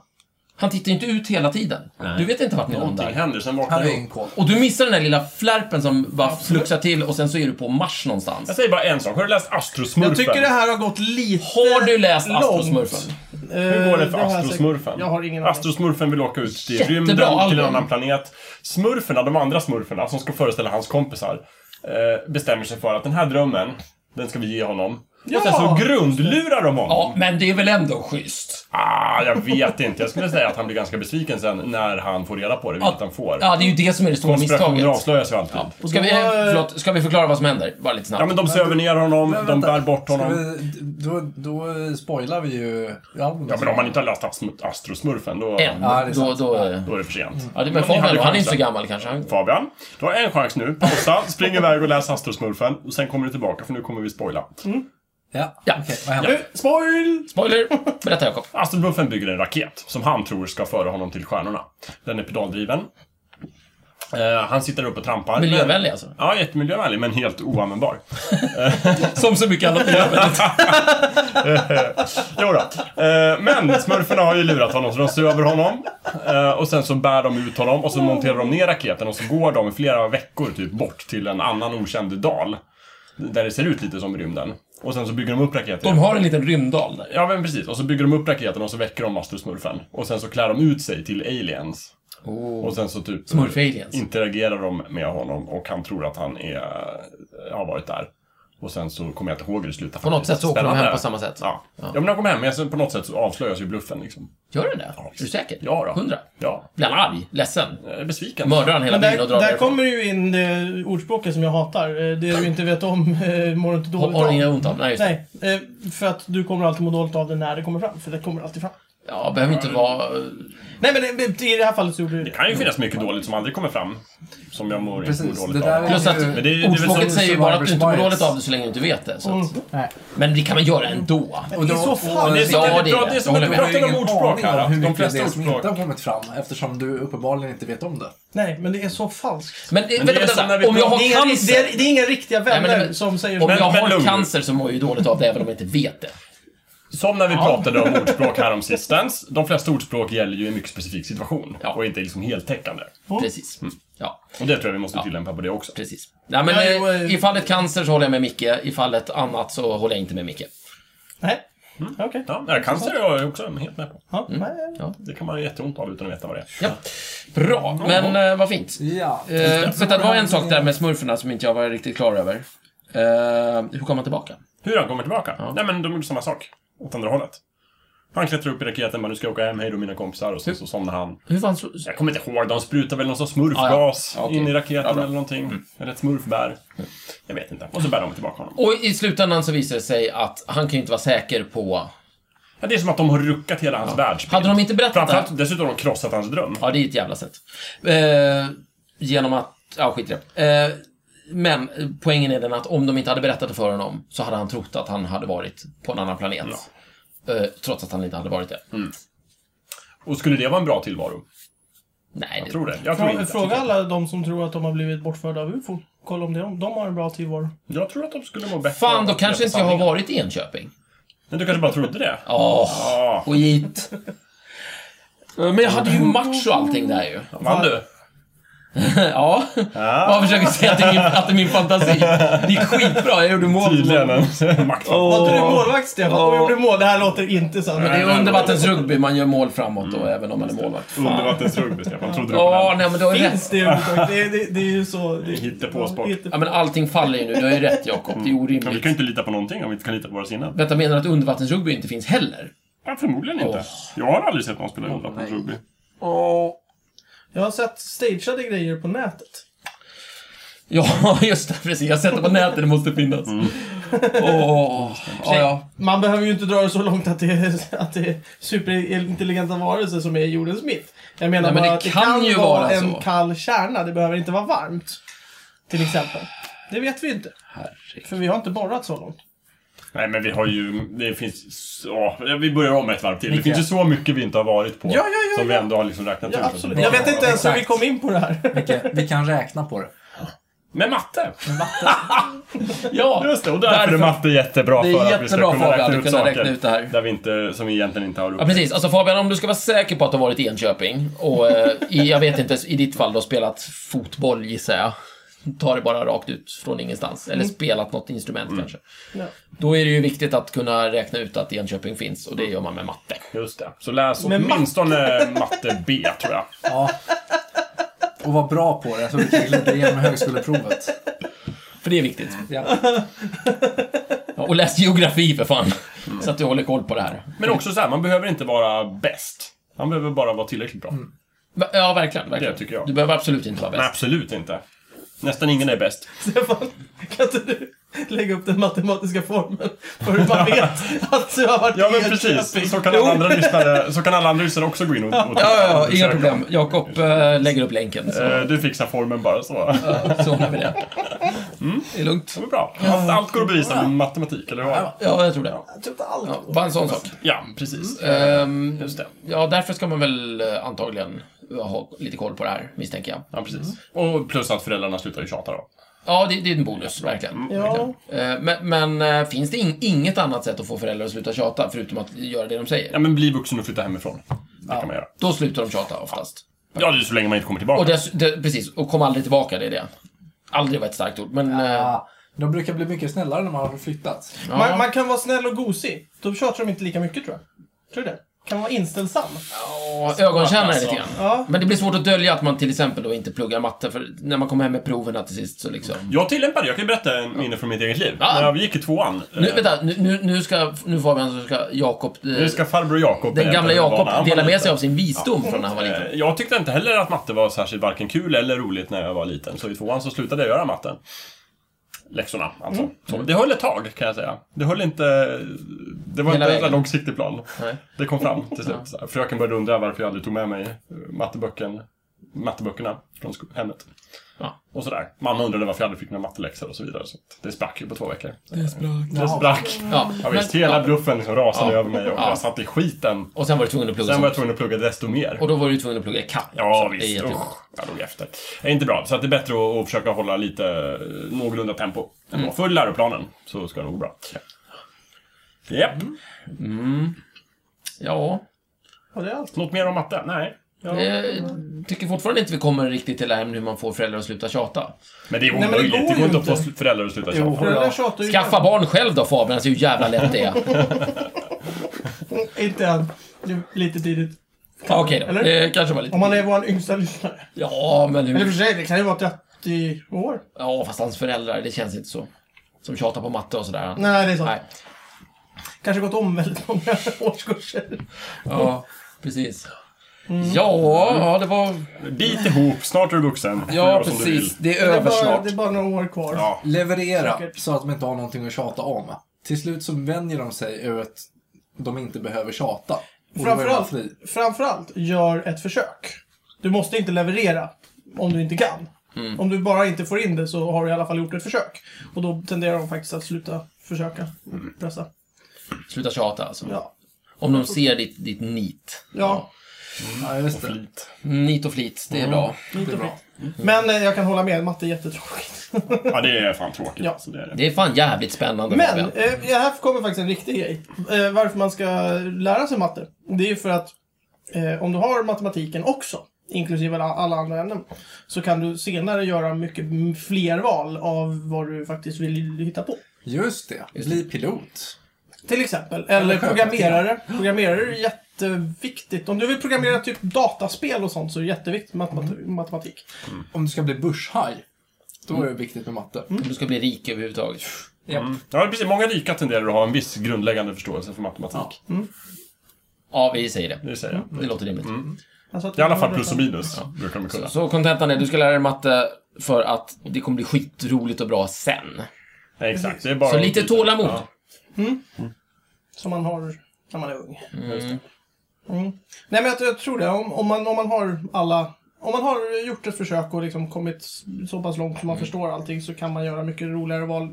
[SPEAKER 2] Han tittar ju inte ut hela tiden. Du vet inte vart någon
[SPEAKER 3] Någonting
[SPEAKER 2] landar.
[SPEAKER 3] händer, sen vaknar
[SPEAKER 4] Han är
[SPEAKER 3] du upp.
[SPEAKER 4] ingen koll.
[SPEAKER 2] Och du missar den där lilla flärpen som bara fluxar till och sen så är du på Mars någonstans.
[SPEAKER 3] Jag säger bara en sak, har du läst Astrosmurfen?
[SPEAKER 1] Jag tycker det här har gått lite
[SPEAKER 2] Har du läst
[SPEAKER 1] långt.
[SPEAKER 2] Astrosmurfen?
[SPEAKER 3] Hur går det för
[SPEAKER 1] har jag
[SPEAKER 3] Astrosmurfen?
[SPEAKER 1] säkert- Jag har ingen aning.
[SPEAKER 3] Astrosmurfen vill åka ut till
[SPEAKER 2] Jättebra
[SPEAKER 3] rymden, till en
[SPEAKER 2] album.
[SPEAKER 3] annan planet. Smurferna, de andra smurferna, som ska föreställa hans kompisar, eh, bestämmer sig för att den här drömmen, den ska vi ge honom.
[SPEAKER 1] Ja!
[SPEAKER 3] Och sen så grundlurar de honom.
[SPEAKER 2] Ja, men det är väl ändå schysst?
[SPEAKER 3] Ah, jag vet inte. Jag skulle säga att han blir ganska besviken sen när han får reda på det, vilket han får.
[SPEAKER 2] Ja, det är ju det som är det stora
[SPEAKER 3] Konspirationer
[SPEAKER 2] misstaget.
[SPEAKER 3] avslöjas ju alltid.
[SPEAKER 2] Och Ska vi,
[SPEAKER 1] Då, eh,
[SPEAKER 2] förlåt, ska vi förklara vad som händer? Bara lite
[SPEAKER 3] Ja,
[SPEAKER 2] snabbt.
[SPEAKER 3] men de söver ner honom,
[SPEAKER 4] Men
[SPEAKER 3] de
[SPEAKER 4] vänta,
[SPEAKER 3] bär bort
[SPEAKER 4] ska
[SPEAKER 3] honom.
[SPEAKER 4] vi- Då, då spoilar vi ju albumet.
[SPEAKER 3] Ja, men om man inte har läst Astro- Astrosmurfen, då,
[SPEAKER 2] En.
[SPEAKER 4] Ja, det är
[SPEAKER 2] då,
[SPEAKER 4] sant.
[SPEAKER 2] då, eh,
[SPEAKER 3] då är det för sent.
[SPEAKER 2] ja, det
[SPEAKER 3] Men
[SPEAKER 2] men
[SPEAKER 3] ni hade
[SPEAKER 2] Fabian, då, han är inte
[SPEAKER 3] chansen.
[SPEAKER 2] så gammal kanske. Han,
[SPEAKER 3] Fabian, du har en chans nu. Pausa, spring iväg och läs Astrosmurfen. Och sen kommer du tillbaka, för nu kommer vi spoila.
[SPEAKER 4] Ja,
[SPEAKER 2] Ja.
[SPEAKER 4] okej. vad händer?
[SPEAKER 1] Eh, Spoil!
[SPEAKER 2] spoiler! Berätta Jakob.
[SPEAKER 3] Astrosmurfen bygger en raket som han tror ska föra honom till stjärnorna. Den är pedaldriven. Eh, han sitter uppe och trampar. men-
[SPEAKER 2] Miljövänlig alltså.
[SPEAKER 3] Ja, jättemiljövänlig, men helt oanvändbar.
[SPEAKER 2] Som så mycket annat miljövänligt.
[SPEAKER 3] Jo då. Eh, Men smurfarna har ju lurat honom så de söver honom. Eh, Och sen så bär de ut honom och så monterar de ner raketen och så går de i flera veckor typ bort till en annan okänd dal. Där det ser ut lite som rymden. Och sen så bygger de upp raketen.
[SPEAKER 2] De har en liten rymddal där.
[SPEAKER 3] Ja men precis, och så bygger de upp raketen och så väcker de Astrosmurfen. Och sen så klär de ut sig till aliens. Och sen så typ
[SPEAKER 2] Smurf-aliens.
[SPEAKER 3] interagerar de med honom och han tror att han är, har varit där. Och sen så kommer jag inte ihåg hur det slutar
[SPEAKER 2] På något
[SPEAKER 3] faktiskt.
[SPEAKER 2] sätt så åker de
[SPEAKER 3] Spännande.
[SPEAKER 2] hem på samma sätt.
[SPEAKER 3] Ja. ja, men de kom hem, men sen på något sätt så avslöjas ju bluffen liksom.
[SPEAKER 2] Gör den det? Är
[SPEAKER 3] visst.
[SPEAKER 2] du säker?
[SPEAKER 3] Ja då.
[SPEAKER 2] Hundra?
[SPEAKER 3] Ja.
[SPEAKER 2] Blir han arg? Ledsen?
[SPEAKER 3] Jag är besviken.
[SPEAKER 2] Mördar han hela
[SPEAKER 1] Men
[SPEAKER 2] byn
[SPEAKER 1] där,
[SPEAKER 2] och drar
[SPEAKER 1] där
[SPEAKER 2] därifrån?
[SPEAKER 1] kommer ju in det ordspråket som jag hatar. Eh, Det du inte vet om eh, mår du inte
[SPEAKER 2] Har
[SPEAKER 1] dåligt
[SPEAKER 2] har inga
[SPEAKER 1] av.
[SPEAKER 2] ont av? Nej, just det.
[SPEAKER 1] Nej, eh, för att du kommer alltid må dåligt av det när det kommer fram. För det kommer alltid fram.
[SPEAKER 2] Ja, behöver inte vara... eh,
[SPEAKER 1] Nej, men det- det- i det här fallet så gjorde det
[SPEAKER 3] Det
[SPEAKER 1] det.
[SPEAKER 3] kan ju finnas mycket dåligt som aldrig kommer fram. Som jag mår mår
[SPEAKER 4] Precis, det
[SPEAKER 3] dåligt
[SPEAKER 4] där
[SPEAKER 3] av.
[SPEAKER 4] är
[SPEAKER 2] Plus att
[SPEAKER 4] ju-
[SPEAKER 3] Men det är- det är väl som
[SPEAKER 2] ordspråket säger ju bara att du inte mår
[SPEAKER 4] survivor's
[SPEAKER 2] dåligt av det så länge du inte vet det. Så
[SPEAKER 1] Mm.
[SPEAKER 2] att,
[SPEAKER 4] Nej.
[SPEAKER 2] men det kan man göra ändå.
[SPEAKER 1] Det är så fan.
[SPEAKER 4] och-
[SPEAKER 3] Det är så-
[SPEAKER 2] Ja,
[SPEAKER 3] det
[SPEAKER 2] det
[SPEAKER 3] är
[SPEAKER 2] är
[SPEAKER 3] bra-
[SPEAKER 2] det.
[SPEAKER 3] det är som
[SPEAKER 2] Jag
[SPEAKER 3] att vi
[SPEAKER 2] håller med.
[SPEAKER 4] Du har
[SPEAKER 3] pratar
[SPEAKER 4] ingen
[SPEAKER 3] om ordspråk
[SPEAKER 4] aning om
[SPEAKER 3] här.
[SPEAKER 4] hur
[SPEAKER 3] De
[SPEAKER 4] mycket av
[SPEAKER 3] flesta
[SPEAKER 4] det som inte
[SPEAKER 3] ordspråk.
[SPEAKER 4] har kommit fram eftersom du uppenbarligen inte vet om det.
[SPEAKER 1] Nej, men det är så falskt.
[SPEAKER 2] Men, eh,
[SPEAKER 3] är
[SPEAKER 2] vänta,
[SPEAKER 3] som när vi
[SPEAKER 2] vänta. Om jag
[SPEAKER 1] Det
[SPEAKER 2] har
[SPEAKER 1] är, inga, det,
[SPEAKER 2] cancer,
[SPEAKER 1] är, det är inga riktiga vänner
[SPEAKER 2] Nej, men- men-
[SPEAKER 1] som säger
[SPEAKER 2] om
[SPEAKER 1] så.
[SPEAKER 2] jag
[SPEAKER 3] men lugn.
[SPEAKER 2] har cancer så mår jag ju dåligt av det även om jag inte vet det.
[SPEAKER 3] Som när vi pratade om ordspråk här om sistens. De flesta ordspråk gäller ju en mycket specifik situation
[SPEAKER 2] Ja.
[SPEAKER 3] och inte liksom heltäckande.
[SPEAKER 1] Mm.
[SPEAKER 2] Precis. Mm. Ja,
[SPEAKER 3] Och det tror jag vi måste tillämpa på det också.
[SPEAKER 2] precis. Nej, men,
[SPEAKER 1] Ja, jo,
[SPEAKER 2] eh,
[SPEAKER 1] eh.
[SPEAKER 2] I fallet cancer så håller jag med Micke, i fallet annat så håller jag inte med Micke.
[SPEAKER 1] Nej.
[SPEAKER 3] Mm.
[SPEAKER 1] Okej.
[SPEAKER 3] Ja, det här cancer är jag också helt med på.
[SPEAKER 2] Mm.
[SPEAKER 1] Ja, nej.
[SPEAKER 3] Det kan man ju jätteont av utan att veta vad det är.
[SPEAKER 2] Ja. Bra, men eh, vad fint.
[SPEAKER 4] Ja.
[SPEAKER 2] Eh, vänta, det var en sak där med smurferna som inte jag var riktigt klar över. Eh, hur kom man tillbaka?
[SPEAKER 3] Hur han kommer tillbaka? Nej, men de gjorde samma sak. Åt andra hållet. Han klättrar upp i raketen, bara nu ska jag åka hem, hej då mina kompisar. Och sen så somnar han.
[SPEAKER 2] Hur fan så...
[SPEAKER 3] Jag kommer inte ihåg, de sprutar väl någon sorts smurfgas
[SPEAKER 2] Ah, ja. Ja, okej.
[SPEAKER 3] in i raketen
[SPEAKER 2] Ja, bra. Mm.
[SPEAKER 3] eller någonting. Eller ett smurfbär. Jag vet inte. Och så bär de tillbaka honom.
[SPEAKER 2] Och i slutändan så visar det sig att han kan ju inte vara säker på...
[SPEAKER 3] Ja, det är som att de har ruckat hela hans världsbild.
[SPEAKER 2] Hade de inte berättat det?
[SPEAKER 3] Framförallt, dessutom har de krossat hans dröm.
[SPEAKER 2] Ja, det är ett jävla sätt. Eh, genom att... Ja, skit i det. Eh, men eh, poängen är den att om de inte hade berättat det för honom så hade han trott att han hade varit på en annan planet. Eh, trots att han inte hade varit det.
[SPEAKER 3] Och skulle det vara en bra tillvaro?
[SPEAKER 2] Nej,
[SPEAKER 3] Jag
[SPEAKER 2] det,
[SPEAKER 3] tror det. Jag tror
[SPEAKER 1] Fråga,
[SPEAKER 3] inte.
[SPEAKER 1] fråga alla de som tror att de har blivit bortförda av UFO. Kolla om de, de har en bra tillvaro.
[SPEAKER 3] Jag tror att de skulle må bättre.
[SPEAKER 2] Fan,
[SPEAKER 3] av
[SPEAKER 2] då
[SPEAKER 3] att veta
[SPEAKER 2] kanske inte jag har
[SPEAKER 3] sanningen.
[SPEAKER 2] varit i Enköping.
[SPEAKER 3] Men du kanske bara trodde det?
[SPEAKER 2] Åh,
[SPEAKER 3] Ja.
[SPEAKER 2] skit. Eh, Men jag hade ju match och allting där ju.
[SPEAKER 3] Vann du?
[SPEAKER 2] Ja, jag försöker säga att det, är min, att det är min fantasi. Det gick skitbra, jag gjorde mål.
[SPEAKER 3] Tydligen. Maktfaktor.
[SPEAKER 1] Var inte du målvakt, Stefan?
[SPEAKER 2] Åh.
[SPEAKER 1] Och gjorde mål? Det här låter inte sant.
[SPEAKER 2] Men det är undervattensrugby, man gör mål framåt då, även om man är målvakt.
[SPEAKER 3] Mm.
[SPEAKER 2] Fan.
[SPEAKER 3] Undervattensrugby, Stefan. Trodde du på
[SPEAKER 2] Ja,
[SPEAKER 3] den?
[SPEAKER 2] nej men du har ju
[SPEAKER 1] Finns
[SPEAKER 2] rätt.
[SPEAKER 1] det överhuvudtaget? Det, är- det, det är ju så... Det,
[SPEAKER 3] Hittepåsport.
[SPEAKER 1] Ja, hitte-
[SPEAKER 2] Ja, men allting faller ju nu, du har ju rätt Jakob, det är
[SPEAKER 3] Mm. Men vi
[SPEAKER 2] orimligt.
[SPEAKER 3] kan ju inte lita på någonting om vi inte kan lita på våra sinnen.
[SPEAKER 2] Vänta, menar du att undervattensrugby inte finns heller?
[SPEAKER 3] Ja, förmodligen inte.
[SPEAKER 2] Åh.
[SPEAKER 3] Jag har aldrig sett någon spela undervattensrugby.
[SPEAKER 1] Jag har sett stageade grejer på nätet.
[SPEAKER 2] Ja, just det, precis. Jag sätter på nätet, det måste finnas.
[SPEAKER 3] Mm.
[SPEAKER 2] Åh, ja, ja.
[SPEAKER 1] Man behöver ju inte dra det så långt att det är, att det är superintelligenta varelser som är jordens mitt. Jag menar
[SPEAKER 2] Nej, men
[SPEAKER 1] bara
[SPEAKER 2] det
[SPEAKER 1] att det
[SPEAKER 2] kan
[SPEAKER 1] kan,
[SPEAKER 2] ju
[SPEAKER 1] vara,
[SPEAKER 2] vara
[SPEAKER 1] en
[SPEAKER 2] så.
[SPEAKER 1] kall kärna. Det behöver inte vara varmt. Till exempel. Det vet vi inte. För vi har inte borrat så långt.
[SPEAKER 3] Nej, men vi har ju... Det finns... Så, ja, vi börjar om ett varv till. Det finns ju så mycket vi inte har varit på.
[SPEAKER 1] Ja, ja, ja,
[SPEAKER 3] som vi
[SPEAKER 1] ja.
[SPEAKER 3] ändå har liksom räknat
[SPEAKER 1] Ja,
[SPEAKER 3] ut.
[SPEAKER 1] absolut. Jag vet inte ens hur vi
[SPEAKER 4] Exakt.
[SPEAKER 1] kom in på det här.
[SPEAKER 4] Micke, vi kan räkna på det.
[SPEAKER 3] Med matte!
[SPEAKER 2] ja.
[SPEAKER 3] Just det, och därför, är matte jättebra
[SPEAKER 2] Det är
[SPEAKER 3] för att vi ska
[SPEAKER 2] jättebra,
[SPEAKER 3] kunna
[SPEAKER 2] Fabian,
[SPEAKER 3] räkna
[SPEAKER 2] att
[SPEAKER 3] ut
[SPEAKER 2] kunna
[SPEAKER 3] saker
[SPEAKER 2] räkna ut det här.
[SPEAKER 3] Där vi inte, som vi egentligen inte har
[SPEAKER 2] Ja,
[SPEAKER 3] upp.
[SPEAKER 2] precis. Alltså Fabian, om du ska vara säker på att du har varit i Enköping och eh, i, jag vet inte, i ditt fall då spelat fotboll gissar jag. Ta det bara rakt ut från ingenstans. Eller
[SPEAKER 3] Mm.
[SPEAKER 2] spelat något instrument kanske.
[SPEAKER 1] Ja.
[SPEAKER 2] Då är det ju viktigt att kunna räkna ut att Enköping finns och det gör man med matte.
[SPEAKER 3] Just det. Så läs
[SPEAKER 1] Med
[SPEAKER 3] åtminstone matte B, tror jag.
[SPEAKER 4] Ja. Och var bra på det så vi kan glida igenom högskoleprovet.
[SPEAKER 2] För det är viktigt.
[SPEAKER 3] Mm.
[SPEAKER 4] Ja.
[SPEAKER 2] Ja, och läs geografi för fan.
[SPEAKER 3] Mm.
[SPEAKER 2] Så att du håller koll på det här.
[SPEAKER 3] Men också så här, man behöver inte vara bäst. Man behöver bara vara tillräckligt bra.
[SPEAKER 2] Mm. Va- Ja, verkligen. verkligen.
[SPEAKER 3] Det tycker jag.
[SPEAKER 2] Du behöver absolut inte vara
[SPEAKER 3] Nej,
[SPEAKER 2] bäst.
[SPEAKER 3] absolut inte. Nästan ingen är bäst.
[SPEAKER 1] Stefan, kan inte du lägga upp den matematiska formeln för hur man vet att du har varit
[SPEAKER 3] Ja, men
[SPEAKER 1] i
[SPEAKER 3] precis.
[SPEAKER 1] Enköping?
[SPEAKER 3] Så kan alla andra lyssnare, så kan alla andra lyssnare också gå in och, och titta.
[SPEAKER 2] Ja, ja, ja,
[SPEAKER 3] Försöka.
[SPEAKER 2] inga problem. Jakob eh, lägger upp länken. Så,
[SPEAKER 3] Eh, Du fixar formen bara så. Det
[SPEAKER 2] så ordnar vi det.
[SPEAKER 3] Mm.
[SPEAKER 2] Det är lugnt.
[SPEAKER 3] var bra. Allt, allt går att bevisa med matematik, eller hur?
[SPEAKER 2] Ja, jag tror det.
[SPEAKER 1] Jag tror inte Typ allt.
[SPEAKER 2] Ja, bara en sån sak.
[SPEAKER 3] Ja, precis.
[SPEAKER 2] Ehm,
[SPEAKER 3] Eh, Just det.
[SPEAKER 2] ja, därför ska man väl eh, antagligen ha lite koll på det här, misstänker jag. Mm.
[SPEAKER 3] Ja, precis. Och plus att föräldrarna slutar ju tjata då.
[SPEAKER 2] Ja, det, det är en bonus, verkligen.
[SPEAKER 3] Mm,
[SPEAKER 1] Ja.
[SPEAKER 2] Eh, men men eh, finns det in, inget annat sätt att få föräldrar att sluta tjata, förutom att göra det de säger?
[SPEAKER 3] Ja, men bli vuxen och flytta hemifrån. Det kan man göra.
[SPEAKER 2] Då slutar de tjata oftast.
[SPEAKER 3] Ja, det är så länge man inte kommer
[SPEAKER 2] Och
[SPEAKER 3] tillbaka.
[SPEAKER 2] dess, det, precis, och kom aldrig tillbaka, det är det. Aldrig var ett starkt ord, men... eh,
[SPEAKER 4] Ja. De brukar bli mycket snällare när man har flyttat.
[SPEAKER 1] Man, man kan vara snäll och gosig. Då tjatar de inte lika mycket tror jag. Tror du det? Kan vara inställsam.
[SPEAKER 2] Ja, ögonkännare lite grann.
[SPEAKER 1] Ja.
[SPEAKER 2] Men det blir svårt att dölja att man till exempel då inte pluggar matte, för när man kommer hem med proven till sist så liksom...
[SPEAKER 3] Jag tillämpade, jag kan ju berätta en minne från mitt eget liv.
[SPEAKER 2] Ja.
[SPEAKER 3] När jag gick i tvåan. eh,
[SPEAKER 2] Nu, vänta, nu- nu, nu ska... Nu Fabian, så ska Jakob... eh,
[SPEAKER 3] Nu ska farbror Jakob
[SPEAKER 2] Den gamla
[SPEAKER 3] berätta vad han
[SPEAKER 2] Jakob
[SPEAKER 3] var
[SPEAKER 2] delar med
[SPEAKER 3] liten.
[SPEAKER 2] sig av sin visdom från när han var liten.
[SPEAKER 3] Eh, Jag tyckte inte heller att matte var särskilt varken kul eller roligt när jag var liten. Så i tvåan så slutade jag göra matten. läxorna. Alltså.
[SPEAKER 2] Mm.
[SPEAKER 3] Så, det höll ett tag, kan jag säga. Det höll inte... Det var
[SPEAKER 2] Hela
[SPEAKER 3] inte en
[SPEAKER 2] vägen.
[SPEAKER 3] långsiktig plan.
[SPEAKER 2] Nej.
[SPEAKER 3] Det kom fram till slut. Så här, Fröken började undra varför jag aldrig tog med mig eh, matteböcken, matteböckerna från sko- hemmet.
[SPEAKER 2] Ja.
[SPEAKER 3] Och sådär. Mamma undrade varför jag aldrig fick några matteläxor och så vidare. Så att det sprack ju på två veckor. Det sprack. Det sprack.
[SPEAKER 2] Ja,
[SPEAKER 3] Ja, visst,
[SPEAKER 2] men-
[SPEAKER 3] hela
[SPEAKER 2] ja.
[SPEAKER 3] bluffen liksom rasade
[SPEAKER 2] Ja.
[SPEAKER 3] över mig och
[SPEAKER 2] Ja.
[SPEAKER 3] jag satt i skiten.
[SPEAKER 2] Och sen var du tvungen att plugga
[SPEAKER 3] Sen var jag
[SPEAKER 2] sånt.
[SPEAKER 3] tvungen att plugga desto mer.
[SPEAKER 2] Och då var du tvungen att plugga ikapp.
[SPEAKER 3] Ja,
[SPEAKER 2] också. Det är
[SPEAKER 3] visst.
[SPEAKER 2] jättejobbigt.
[SPEAKER 3] Usch, jag låg efter. Det är inte bra. Så att det är bättre att, att försöka hålla lite eh, någorlunda tempo. Mm. Var full läroplanen så ska det nog gå bra. Japp.
[SPEAKER 2] Ja,
[SPEAKER 1] Och det är allt.
[SPEAKER 3] Något mer om matte? Nej. Ja.
[SPEAKER 2] jag tycker fortfarande inte vi kommer riktigt till det här med hur man får föräldrar att sluta tjata.
[SPEAKER 3] Men det är
[SPEAKER 1] men det
[SPEAKER 3] omöjligt.
[SPEAKER 1] går
[SPEAKER 3] det
[SPEAKER 1] ju
[SPEAKER 3] går inte att få
[SPEAKER 1] inte.
[SPEAKER 3] sl- föräldrar att sluta
[SPEAKER 4] Jo.
[SPEAKER 3] tjata.
[SPEAKER 1] Föräldrar
[SPEAKER 4] ja.
[SPEAKER 1] tjatar ju...
[SPEAKER 2] Skaffa barn själv då Fabian, så hur jävla lätt det är.
[SPEAKER 1] Inte än. Det är lite tidigt.
[SPEAKER 2] Ja, Okej då,
[SPEAKER 1] Eller?
[SPEAKER 2] det kanske var lite...
[SPEAKER 1] Om man är vår yngsta lyssnare.
[SPEAKER 2] Ja, men
[SPEAKER 1] Eller i och
[SPEAKER 2] hur...
[SPEAKER 1] för sig, det kan ju vara 30 år.
[SPEAKER 2] Ja, fast hans föräldrar, det känns inte så. Som tjatar på matte och sådär.
[SPEAKER 1] Nej, det är sant.
[SPEAKER 2] Nej.
[SPEAKER 1] Kanske gått om väldigt många årskurser.
[SPEAKER 2] Ja, precis.
[SPEAKER 1] Mm.
[SPEAKER 2] Ja, ja, det var...
[SPEAKER 3] Bit ihop, snart är du vuxen. Du
[SPEAKER 2] Ja,
[SPEAKER 3] gör som du
[SPEAKER 2] precis.
[SPEAKER 3] vill.
[SPEAKER 2] Det
[SPEAKER 1] Det
[SPEAKER 2] är
[SPEAKER 1] är,
[SPEAKER 2] över
[SPEAKER 1] bara,
[SPEAKER 2] snart.
[SPEAKER 1] det är bara några år kvar.
[SPEAKER 3] Ja.
[SPEAKER 4] Leverera
[SPEAKER 1] Säkert.
[SPEAKER 4] så att de inte har någonting att tjata om. Till slut så vänjer de sig över att de inte behöver tjata. Och då börjar de vara
[SPEAKER 1] Framförallt,
[SPEAKER 4] fri.
[SPEAKER 1] framförallt, gör ett försök. Du måste inte leverera om du inte kan.
[SPEAKER 2] Mm.
[SPEAKER 1] Om du bara inte får in det så har du i alla fall gjort ett försök. Och då tenderar de faktiskt att sluta försöka
[SPEAKER 2] Mm.
[SPEAKER 1] pressa.
[SPEAKER 2] Sluta tjata alltså.
[SPEAKER 1] Ja.
[SPEAKER 2] Om de ser ditt, ditt nit.
[SPEAKER 1] Ja,
[SPEAKER 4] Ja, just det.
[SPEAKER 3] Flit.
[SPEAKER 2] Nit och flit, det är bra.
[SPEAKER 1] inte
[SPEAKER 4] är bra.
[SPEAKER 1] bra. Men eh, jag kan hålla med, matte är jättetråkigt.
[SPEAKER 3] Ja, det är fan tråkigt.
[SPEAKER 1] Ja.
[SPEAKER 3] Alltså, det är det.
[SPEAKER 2] Det är fan jävligt spännande
[SPEAKER 1] Men,
[SPEAKER 2] Fabian.
[SPEAKER 1] eh, här kommer faktiskt en riktig grej. Eh, varför man ska lära sig matte. Det är ju för att eh, om du har matematiken också, inklusive alla, alla andra ämnen, så kan du senare göra mycket m- fler val av vad du faktiskt vill hitta på.
[SPEAKER 4] Just det. Bli pilot.
[SPEAKER 1] Till exempel. Eller programmerare. Programmerare är jätteviktigt. Om du vill programmera typ dataspel och sånt så är det jätteviktigt med matemat- matematik.
[SPEAKER 4] Om du ska bli börshaj, då är det viktigt med matte.
[SPEAKER 1] Mm.
[SPEAKER 2] Om du ska bli rik överhuvudtaget.
[SPEAKER 3] Mm. Ja, precis. Många rika tenderar att ha en viss grundläggande förståelse för matematik.
[SPEAKER 2] Ja, vi säger det.
[SPEAKER 3] Det säger jag.
[SPEAKER 2] Det låter rimligt.
[SPEAKER 3] Mm.
[SPEAKER 1] Alltså att-
[SPEAKER 3] I alla fall plus och minus brukar de kunna.
[SPEAKER 2] Så kontentan är, du ska lära dig matte för att det kommer bli skitroligt och bra sen.
[SPEAKER 3] Ja, exakt. Det är bara
[SPEAKER 2] Så lite tålamod.
[SPEAKER 3] Ja.
[SPEAKER 1] Som man har när man är ung. Mm. Nej men jag, jag tror det. Om, om, man, om man har alla... Om man har gjort ett försök och liksom kommit så pass långt som man förstår allting så kan man göra mycket roligare val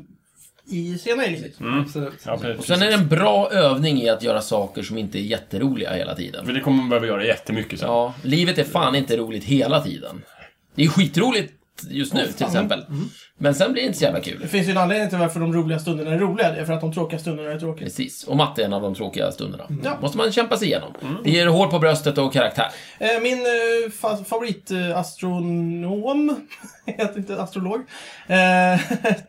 [SPEAKER 1] i senare i livet.
[SPEAKER 4] Mm. Absolut.
[SPEAKER 3] Mm. Ja, precis.
[SPEAKER 2] Och sen är det en bra övning i att göra saker som inte är jätteroliga hela tiden.
[SPEAKER 3] För det kommer man behöva göra jättemycket sen.
[SPEAKER 2] Ja, livet är fan inte roligt hela tiden. Det är skitroligt just nu, till exempel.
[SPEAKER 1] Mm.
[SPEAKER 2] Men sen blir det inte så jävla kul.
[SPEAKER 1] Det finns ju en anledning till varför de roliga stunderna är roliga. Det är för att de tråkiga stunderna är tråkiga.
[SPEAKER 2] Precis, och matte är en av de tråkiga stunderna.
[SPEAKER 1] Ja.
[SPEAKER 2] Måste man kämpa sig igenom. Det ger hår på bröstet och karaktär.
[SPEAKER 1] Eh, Min eh, fa- favoritastronom, heter inte astrolog, eh, eh,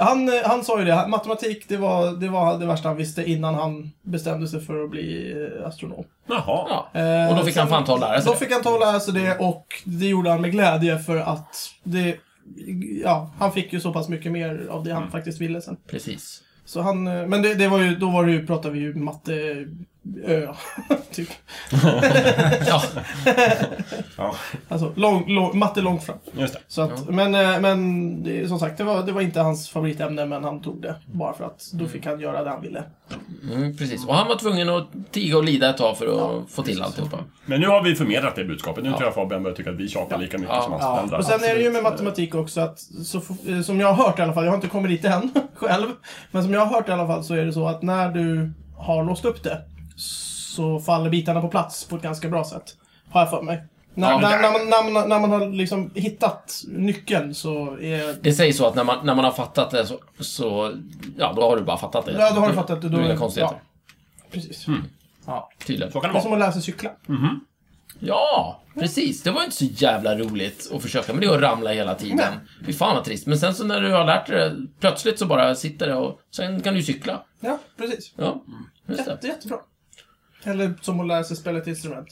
[SPEAKER 1] han, eh, han sa ju det, han- matematik det var, det var det värsta han visste innan han bestämde sig för att bli eh, astronom.
[SPEAKER 3] Jaha.
[SPEAKER 2] Ja.
[SPEAKER 1] Eh,
[SPEAKER 2] Och då fick han
[SPEAKER 1] sen-
[SPEAKER 2] fan ta och lära
[SPEAKER 1] Då
[SPEAKER 2] sig det. Mm.
[SPEAKER 1] fick han ta och lära sig det och det gjorde han med glädje för att det, ja, han fick ju så pass mycket mer av det han
[SPEAKER 2] Mm.
[SPEAKER 1] faktiskt ville sen.
[SPEAKER 2] Precis.
[SPEAKER 1] Så han, eh, men det, det var ju, då var det ju, pratade vi ju matte, ö, typ.
[SPEAKER 2] Ja,
[SPEAKER 3] Ja,
[SPEAKER 1] Alltså lång, lång, matte långt fram.
[SPEAKER 3] just det.
[SPEAKER 1] Så att, Men, eh, men det, som sagt, det var, det var inte hans favoritämne, men han tog det. Bara för att då fick han göra det han ville.
[SPEAKER 2] mm, precis. Och han var tvungen att tiga och lida ett tag för att få till alltihopa.
[SPEAKER 3] Men nu har vi förmedlat det budskapet. Nu tror jag Fabian börjar tycka att vi tjatar lika mycket
[SPEAKER 2] Ja.
[SPEAKER 3] som hans
[SPEAKER 4] Ja.
[SPEAKER 3] föräldrar.
[SPEAKER 1] Och sen är det ju med matematik också att, så, f- eh, som jag har hört i alla fall, jag har inte kommit dit än själv. Men som jag har hört i alla fall så är det så att när du har låst upp det så faller bitarna på plats på ett ganska bra sätt. Har jag för mig. När,
[SPEAKER 2] Ja,
[SPEAKER 1] när, när, man, när, man, när man har liksom hittat nyckeln så är...
[SPEAKER 2] Det sägs så att när man, när man har fattat det så, så... Ja, då har du bara fattat det.
[SPEAKER 1] Ja, då har du fattat.
[SPEAKER 2] det.
[SPEAKER 1] det.
[SPEAKER 2] Då
[SPEAKER 1] Då,
[SPEAKER 2] är det konstigheter. Mm.
[SPEAKER 1] Ja, precis.
[SPEAKER 4] Ja.
[SPEAKER 2] Tydligen.
[SPEAKER 3] Så kan det
[SPEAKER 1] Det är som
[SPEAKER 3] vara.
[SPEAKER 1] att lära sig cykla.
[SPEAKER 2] Mm. Ja, precis. Det var ju inte så jävla roligt att försöka med det och ramla hela tiden. Fy fan vad trist. Men sen så när du har lärt dig det, plötsligt så bara sitter det och sen kan du ju cykla.
[SPEAKER 1] Ja, precis.
[SPEAKER 2] Ja, just det.
[SPEAKER 1] Jätte, jättebra. Eller som att lära sig spela ett instrument.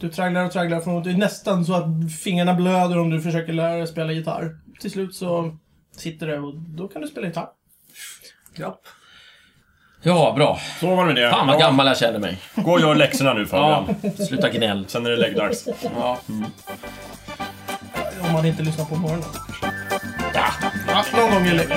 [SPEAKER 1] Du tragglar och tragglar från det är nästan så att fingrarna blöder om du försöker lära dig spela gitarr. Till slut så sitter det och då kan du spela gitarr.
[SPEAKER 4] Japp.
[SPEAKER 2] Ja, bra.
[SPEAKER 3] Så var det med det.
[SPEAKER 2] Fan vad
[SPEAKER 3] Ja,
[SPEAKER 2] gammal jag känner mig.
[SPEAKER 3] Gå och gör läxorna nu Fabian.
[SPEAKER 2] Sluta gnäll.
[SPEAKER 3] Sen är det läggdags.
[SPEAKER 1] Om man inte lyssnar på morgonen.
[SPEAKER 2] Ja.
[SPEAKER 1] Ja, någon gång eller...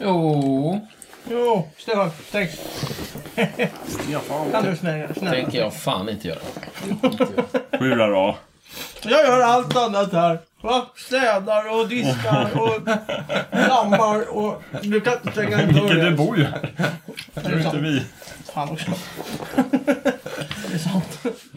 [SPEAKER 2] Jo,
[SPEAKER 1] Jo, Stefan. Tänk. Kan du snälla? snälla.
[SPEAKER 2] tänker jag fan inte göra.
[SPEAKER 3] Hurra då.
[SPEAKER 1] Jag gör allt annat här. Va? Städar och diskar och lammar och... Du kan inte stänga en dörr.
[SPEAKER 3] Micke, du
[SPEAKER 1] ens.
[SPEAKER 3] bor ju här.
[SPEAKER 1] Det
[SPEAKER 3] Det
[SPEAKER 1] är
[SPEAKER 3] är inte
[SPEAKER 1] sant.
[SPEAKER 3] vi.
[SPEAKER 1] Fan också. Det är sant.